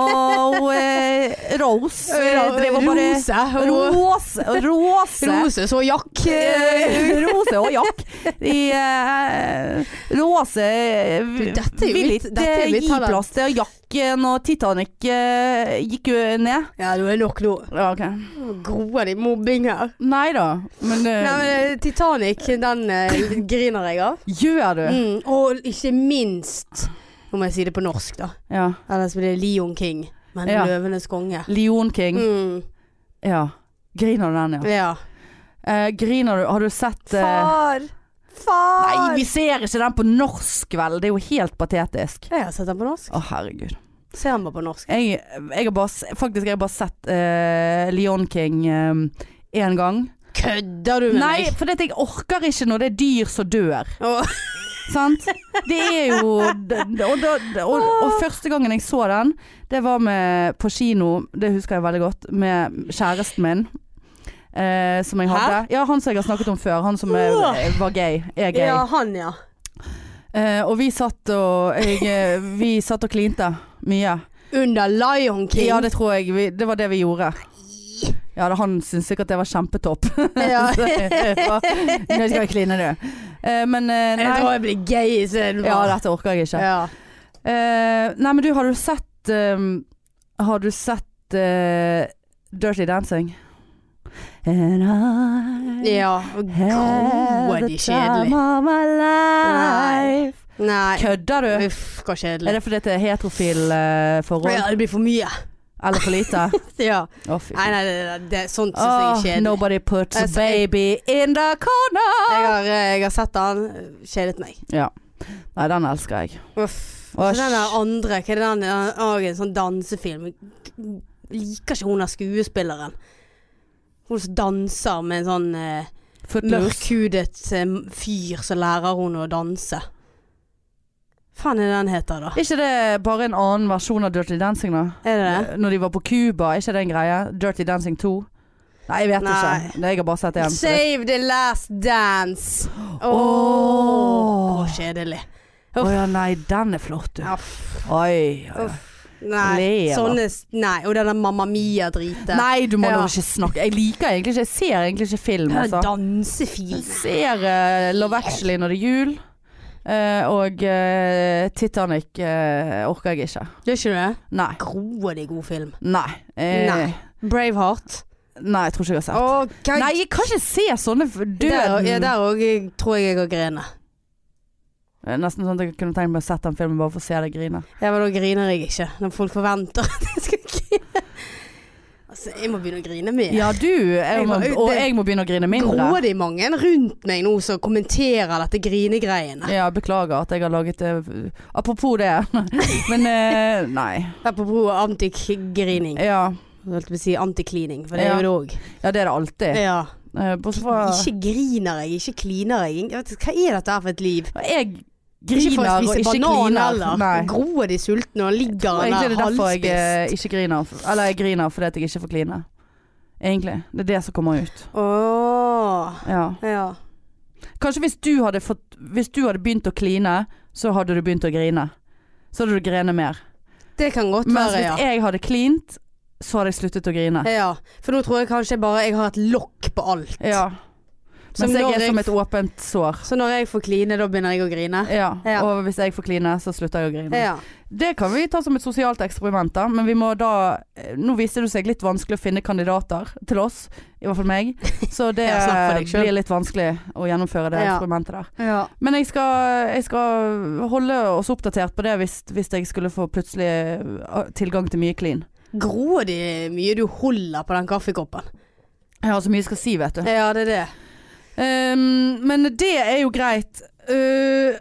A: Og eh, Rose eh, drev og bare
B: Rose. Ro-
A: Rose, Rose
B: Rose så jakk.
A: jakk. eh, Rose og jakk. I eh, Rose eh,
B: Du, dette er jo
A: vil
B: litt-
A: ikke
B: dette er jo litt
A: gi
B: talent.
A: plass til jakken, og Titanic eh, gikk jo ned.
B: Ja, nå er det nok nå.
A: Ja, ok.
B: Groer de mobbing her?
A: Nei da, men, eh,
B: Nei, men eh, Titanic, den eh, griner jeg av.
A: gjør du?
B: Mm, og ikke minst Nå må jeg si det på norsk, da.
A: Ja.
B: Ellers blir det Lion King, men
A: Ja.
B: Løvenes konge.
A: Leon King.
B: Mm,
A: Ja. Griner du den, ja?
B: ja.
A: Eh, griner du Har du sett eh,
B: Far! Far!
A: Nei, vi ser ikke den på norsk, vel. Det er jo helt patetisk.
B: Jeg har sett den på norsk.
A: Å, herregud.
B: Ser den bare på norsk.
A: Jeg, jeg har bare, s- faktisk jeg har bare sett uh, Leon King én gang.
B: Kødder du med
A: Nei,
B: meg?
A: for det at jeg orker ikke når det er dyr som dør.
B: Åh.
A: Sant? Det er jo d- d- og, da- og, og første gangen jeg så den, det var med, på kino, det husker jeg veldig godt, med kjæresten min. eh, som jeg
B: Hæ?
A: hadde. Ja, han som jeg har snakket om før. Han som er, eh, var gay. Er gay.
B: Ja, han, ja.
A: Eh, og vi satt og jeg, eh, Vi satt og klinte mye.
B: Under Lion King.
A: Ja, det tror jeg. Vi, det var det vi gjorde. Ja, det, han syntes sikkert det var kjempetopp.
B: Ja.
A: Så jeg var, Nå skal jeg kline, du. Eh, men eh,
B: Jeg tror
A: nei.
B: jeg blir gay istedenfor.
A: Ja, dette orker jeg ikke.
B: ja.
A: Eh, nei, men du, har du sett eh, Har du sett eh, Dirty Dancing? And I
B: ja.
A: had
B: God,
A: the time
B: de kjedelig.
A: of my life.
B: Nei.
A: Kødder du?
B: Uff, hva
A: Er
B: kjedelig.
A: det fordi det er heterofil eh, forhold?
B: Ja, det blir for mye.
A: Eller for lite?
B: Ja.
A: Å, fy.
B: Nei, nei, det, det, det, sånt syns jeg er
A: Åh,
B: kjedelig.
A: nobody puts a
B: Jeg skal-
A: baby in the corner!
B: Jeg har, eh, jeg har sett den, kjedet meg.
A: Ja. Nei, den elsker jeg.
B: Uff. Så
A: Åsj.
B: den der andre, hva er det den den har en sånn dansefilm? Jeg Liker ikke hun der skuespilleren. Hun som danser med en sånn eh,
A: Footloose.
B: mørkhudet eh, fyr som lærer henne å danse. Faen er det den heter, da?
A: Er ikke det bare en annen versjon av Dirty Dancing, da?
B: Er det det?
A: Når de var på Cuba, er ikke det en greie? Dirty Dancing 2? Nei, jeg vet
B: Nei.
A: ikke. Nei, Jeg har bare sett én. så det-
B: Save the last dance. Åh,
A: Åh.
B: kjedelig.
A: Å ja, nei, den er flott, du.
B: Uff.
A: Oi. oi.
B: Uff. Nei,
A: Lever.
B: sånne s- Nei, og den der Mamma Mia-driten.
A: Nei, du må
B: Ja.
A: nå ikke snakke Jeg liker egentlig ikke Jeg ser egentlig ikke film,
B: Den
A: altså. Jeg
B: dansefilm.
A: ser eh, Love Actually når det er jul. eh, og eh, Titanic eh, orker jeg ikke.
B: Gjør ikke du det?
A: Nei.
B: Groer det er god film.
A: Nei. eh,
B: Nei. Braveheart.
A: nei, jeg tror ikke jeg har sett.
B: Okay.
A: Nei, jeg kan ikke se sånne f-
B: Der
A: døden
B: og- ja, der òg tror jeg jeg har grene.
A: Eh, Nesten sånn at jeg kunne tenkt meg å sette den filmen bare for å se deg grine.
B: Ja, men da griner jeg ikke, når folk forventer at jeg skal grine. Altså, jeg må begynne å grine mer.
A: Ja, du! Jeg
B: Jeg
A: må,
B: må- det-
A: og jeg må begynne å grine mindre.
B: Groer det er mange rundt meg nå som kommenterer dette grinegreiene?
A: Ja, beklager at jeg har laget det Apropos det. Men eh, nei.
B: Apropos antigrining.
A: Ja.
B: Jeg holdt på å si antiklining, for det
A: Ja.
B: er jo det òg.
A: ja, det er det alltid.
B: Ja.
A: Eh, Bortsett fra
B: Ikke griner jeg, ikke kliner jeg. Jeg vet ikke, Hva er dette her for et liv?
A: Jeg
B: ikke for
A: griner
B: å
A: og
B: spise
A: ikke
B: banan
A: griner.
B: heller.
A: Nei.
B: Groer de sultne og ligger
A: Og Egentlig er
B: der
A: det derfor jeg
B: halvspist?
A: eh, ikke griner. f- Eller jeg griner fordi at jeg ikke får kline. Egentlig. Det er det som kommer ut.
B: Åh,
A: Ja.
B: ja.
A: Kanskje hvis du hadde fått Hvis du hadde begynt å kline, så hadde du begynt å grine. Så hadde du grene mer.
B: Det kan godt
A: Mens
B: være,
A: hvis
B: ja.
A: jeg hadde klint, så hadde jeg sluttet å grine.
B: ja. For nå tror jeg kanskje bare jeg har et lokk på alt.
A: Ja.
B: Som
A: Mens
B: når
A: jeg er
B: jeg-
A: som et åpent sår.
B: Så når jeg får kline, da begynner jeg å grine?
A: Ja.
B: Ja.
A: Og hvis jeg får kline, så slutter jeg å grine.
B: Ja.
A: Det kan vi ta som et sosialt eksperiment, da. Men vi må da eh, Nå viste det seg litt vanskelig å finne kandidater til oss. I hvert fall meg. Så det
B: Ja, snakk for deg selv.
A: blir litt vanskelig å gjennomføre det
B: Ja.
A: eksperimentet der.
B: ja.
A: Men jeg skal, jeg skal holde oss oppdatert på det hvis, hvis jeg skulle få plutselig eh, tilgang til mye clean.
B: Groer de mye du holder på den kaffekoppen?
A: Jeg har så mye jeg skal si, vet du.
B: Ja, det er det.
A: Ehm, men det er jo greit. Uh,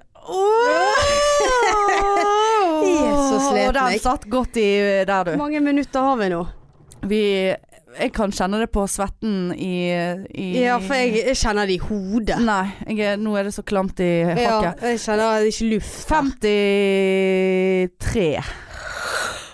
B: Jesus, sliten
A: Og den
B: jeg.
A: satt godt i øh, der, du.
B: Hvor mange minutter har vi nå?
A: Vi, jeg kan kjenne det på svetten i, i
B: Ja, for jeg, jeg kjenner det i hodet.
A: Nei, jeg er, nå er det så klamt i
B: Ja,
A: hakket.
B: Mm, jeg kjenner det er ikke luft.
A: 53.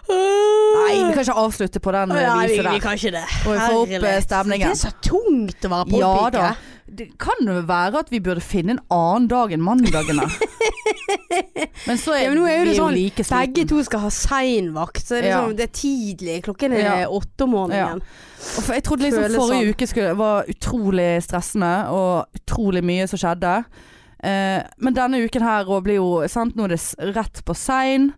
A: Nei, vi kan ikke avslutte på den eh,
B: Nei, vi,
A: viset
B: vi
A: der.
B: kan ikke det.
A: Og vi får opp, eh,
B: Herlighet.
A: stemningen.
B: Det er så tungt å være
A: Ja
B: påpike.
A: da. Det kan jo være at vi burde finne en annen dag enn mandagen. da. Men så er,
B: Ja, men nå er jo
A: vi
B: det sånn,
A: like sliten.
B: Begge to skal ha sein vakt, så det er,
A: Ja.
B: sånn, det er tidlig. Klokken er
A: Ja.
B: åtte om morgenen.
A: Og for- Jeg trodde liksom
B: Føles
A: forrige
B: sånn.
A: uke skulle, var utrolig stressende og utrolig mye som skjedde. Eh, men denne uken her også blir jo sant? Nå er det s- rett på sein.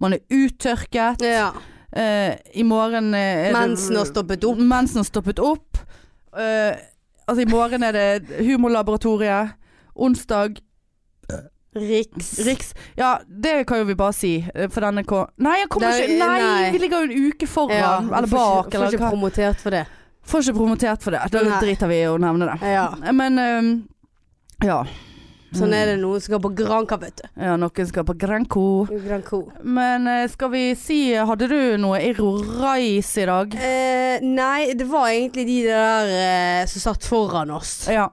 A: Man er uttørket.
B: Ja.
A: Eh, I morgen eh, er
B: Mensen har
A: det
B: stoppet opp.
A: Mensen har stoppet opp. Eh, altså i morgen er det Humorlaboratoriet. Onsdag
B: Riks.
A: Riks. Ja, det kan jo vi bare si, eh, for denne kom Nei, jeg kommer
B: Det er-
A: ikke Nei,
B: nei.
A: vi ligger jo en uke foran.
B: Ja,
A: eller
B: får
A: bak,
B: ikke-
A: eller
B: Får ikke
A: hva.
B: promotert for det.
A: Får ikke promotert for det. Da
B: Nei.
A: driter vi i å nevne det.
B: Ja.
A: Men ehm, ja. Mm,
B: Sånn er det noen som skal på Granca, vet du.
A: ja. Noen skal på Granco.
B: Gran Co.
A: Men eh, skal vi si Hadde du noe Irro Rais i dag?
B: Eh, nei, det var egentlig de der eh, som satt foran oss.
A: Ja.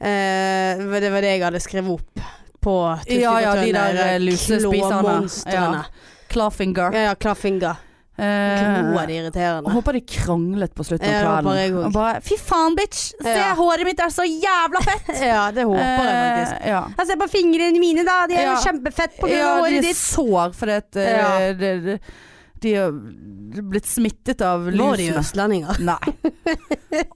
B: Eh, det var- det var det jeg hadde skrevet opp på Tutti
A: Ja, ja,
B: Fortønne,
A: de der, eh, lusespiserne.
B: klåmonstrene.
A: Clawfinger. Eh,
B: Ja, ja, klaffinger. Kloa de irriterende.
A: jeg håper de kranglet på slutten
B: Ja, det
A: av
B: håper jeg
A: kvelden.
B: også.
A: Og bare Fy faen, bitch! Se,
B: Ja.
A: håret mitt er så jævla fett!
B: Ja, det håper jeg faktisk.
A: Eh, ja.
B: Jeg ser på fingrene mine, da. De er
A: Ja.
B: jo kjempefett på grunn
A: ja,
B: av
A: de
B: håret
A: er
B: ditt.
A: sår fordi at eh,
B: Ja.
A: det, det, de er blitt smittet av
B: Var de
A: lusene.
B: østlendinger?
A: Nei.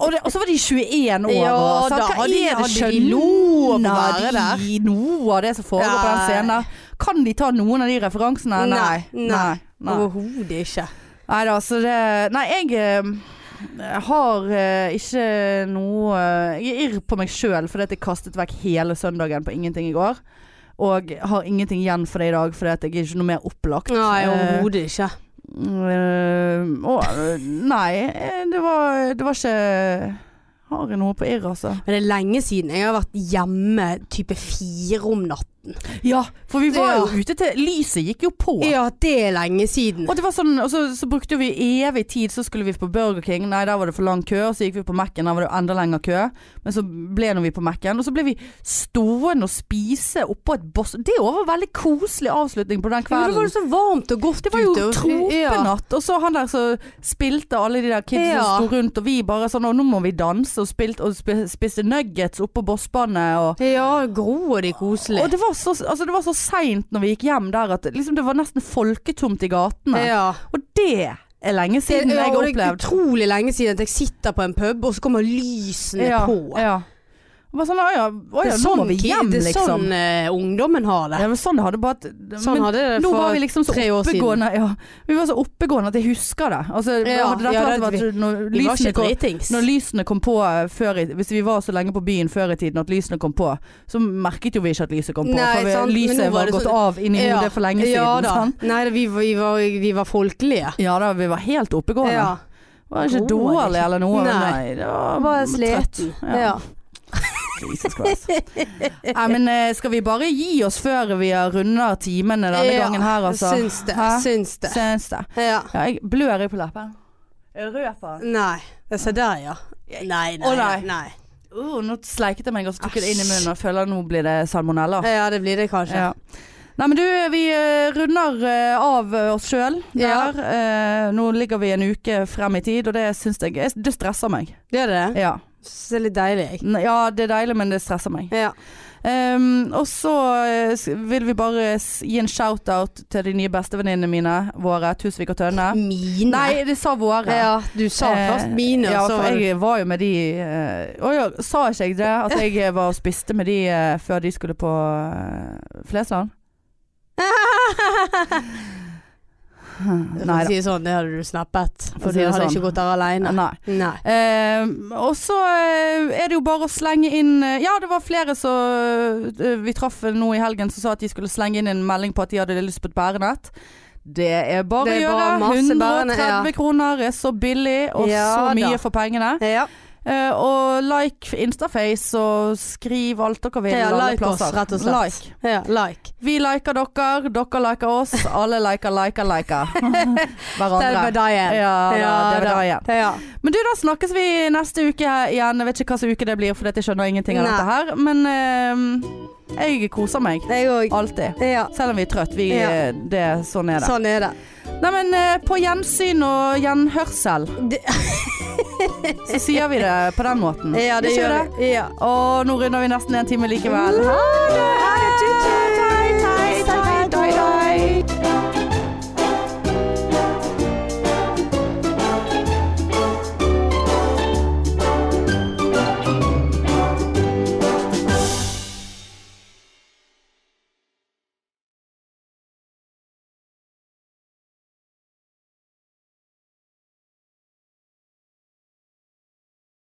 A: Og, det, og så var de 21 år.
B: Ja,
A: og sant?
B: da
A: Hva
B: hadde de-
A: er det?
B: hadde de lov å være
A: Skjønner de noe av det som foregår på den
B: Nei.
A: scenen? der? Kan de ta noen av de referansene? Nei.
B: Nei.
A: Nei. Nei.
B: Overhodet ikke.
A: Neida, så det Nei, jeg eh, har eh, ikke noe eh, Jeg er irr på meg sjøl fordi at jeg kastet vekk hele søndagen på ingenting i går. Og har ingenting igjen for det i dag fordi at jeg er ikke noe mer opplagt.
B: Nei,
A: Eh,
B: overhodet ikke.
A: Eh, å, eh, nei, eh, det var, det var ikke Har jeg noe på irr, altså?
B: Men det er lenge siden jeg har vært hjemme type fire om natten.
A: Ja, for vi var
B: Ja.
A: jo ute til Lyset gikk jo på.
B: Ja, det er lenge siden.
A: Og det var sånn, og så, så brukte vi evig tid, så skulle vi på Burger King. Nei, der var det for lang kø. Og så gikk vi på Mac-en, der var det enda lengre kø. Men så ble nå vi på Mac-en. Og så ble vi stående og spise oppå et boss. Det var en veldig koselig avslutning på den
B: Ja, men
A: kvelden.
B: det var jo så varmt og godt ute.
A: Det var jo
B: og- Ja.
A: tropenatt. Og så han der som spilte alle de der kidsa
B: Ja.
A: som sto rundt, og vi bare sånn Å, nå må vi danse, og, spilte, og spi- spiste nuggets oppå bossbanet. Og,
B: Ja, Gro og de koselige.
A: og det var så, altså, det var så seint når vi gikk hjem der at liksom, det var nesten folketomt i gatene.
B: ja.
A: Og det er lenge
B: Det,
A: siden
B: ja,
A: jeg
B: og
A: har
B: det er
A: opplevd.
B: utrolig lenge siden at jeg sitter på en pub, og så kommer lysene
A: Ja,
B: på.
A: ja. Og Bare sånn, å ja, å
B: Det
A: ja,
B: er
A: nå
B: sånn,
A: må vi
B: ki-
A: hjem,
B: det er
A: liksom.
B: sånn eh, ungdommen har det.
A: Ja, men sånn hadde bare at-
B: Sånn
A: men-
B: hadde det
A: Nå var
B: for
A: vi liksom så
B: tre år siden.
A: oppegående ja. Vi var så oppegående at jeg husker det. Altså,
B: Ja,
A: hadde dette
B: ja, det-
A: vært
B: vi-
A: når
B: Vi var
A: lysene
B: ikke
A: kom,
B: dritings.
A: Når lysene kom på eh, før i, Hvis vi var så lenge på byen før i tiden at lysene kom på, så merket jo vi ikke at lyset kom på.
B: Nei,
A: for vi,
B: sant, men nå
A: lyset
B: var
A: var
B: det så-
A: gått av inni
B: Ja.
A: hodet for lenge siden.
B: Ja da.
A: sant?
B: Nei, vi, var- vi, var, vi var folkelige.
A: Ja da, vi var helt oppegående.
B: Ja.
A: Var ikke
B: Gode var det
A: dårlig
B: ikke.
A: eller noe. men
B: Nei.
A: nei det var
B: Bare
A: trøtt.
B: sliten.
A: Ja.
B: Ja.
A: Jesus Christ. Nei, men eh, skal vi bare gi oss før vi har runder timene denne
B: Ja,
A: gangen her, altså?
B: Syns det.
A: Hæ?
B: Syns det.
A: Syns det.
B: Ja.
A: Ja, jeg blør jeg på leppen. Jeg rød på den.
B: Nei. Jeg ser der, ja. Nei, nei.
A: Å, nei.
B: nei.
A: Uh, nå sleiket jeg meg og så tok jeg det inn i munnen og føler at nå blir det salmonella.
B: Ja, det blir det kanskje.
A: Ja. Nei, men du, vi eh, runder eh, av eh, oss sjøl
B: Ja.
A: der. Eh, Nå ligger vi en uke frem i tid, og det syns jeg jeg- Det stresser meg.
B: Gjør det det?
A: Ja.
B: Syns det er litt deilig, jeg.
A: N- ja, det er deilig, men det stresser meg.
B: Ja.
A: Ehm, og så eh, s- vil vi bare s- gi en shout-out til de nye bestevenninnene mine, våre Tusvik og Tønne.
B: Mine?
A: Nei, de sa våre.
B: Ja, du sa først
A: Eh,
B: mine,
A: Ja,
B: og så
A: for
B: var det-
A: jeg var jo med de eh, Å ja, sa ikke jeg det? At jeg var og spiste med de eh, før de skulle på eh, Flesland? Nei
B: For å
A: da.
B: si det sånn, det hadde du snappet.
A: For å
B: For
A: si
B: du
A: det
B: hadde
A: sånn.
B: ikke gått der alene.
A: Nei.
B: Nei.
A: Eh, og så eh, er det jo bare å slenge inn eh, Ja, det var flere som eh, vi traff nå i helgen som sa at de skulle slenge inn en melding på at de hadde lyst på et bærenett. Det er bare
B: Det er
A: å gjøre.
B: bare masse
A: 130
B: bærene, ja.
A: kroner er så billig, og
B: Ja
A: så mye
B: da.
A: for pengene.
B: Ja,
A: Eh, og like Instaface, og skriv alt dere vil.
B: ja
A: alle
B: like oss,
A: plasser.
B: rett og slett.
A: Like.
B: Ja, like.
A: Vi liker dere, dere liker oss. Alle liker, liker, liker.
B: Det er
A: Hverandre.
B: bare deg igjen.
A: Ja, da,
B: Ja,
A: det var
B: da.
A: da igjen.
B: Ja.
A: Men du, da snakkes vi neste uke igjen. Jeg vet ikke hva slags uke det blir, for jeg skjønner ingenting av
B: Nei.
A: dette her. Men eh, jeg koser meg.
B: Jeg òg.
A: Alltid.
B: Ja.
A: Selv om vi er trøtt. Vi,
B: Ja.
A: det, sånn er det.
B: Sånn er det.
A: Nei, men eh, på gjensyn og gjenhørsel
B: Det-
A: så sier vi det på den måten.
B: Ja, det
A: Ikke
B: gjør det. Ja.
A: Og nå runder vi nesten en time likevel.
B: Ha det! Ha det, tut, tut.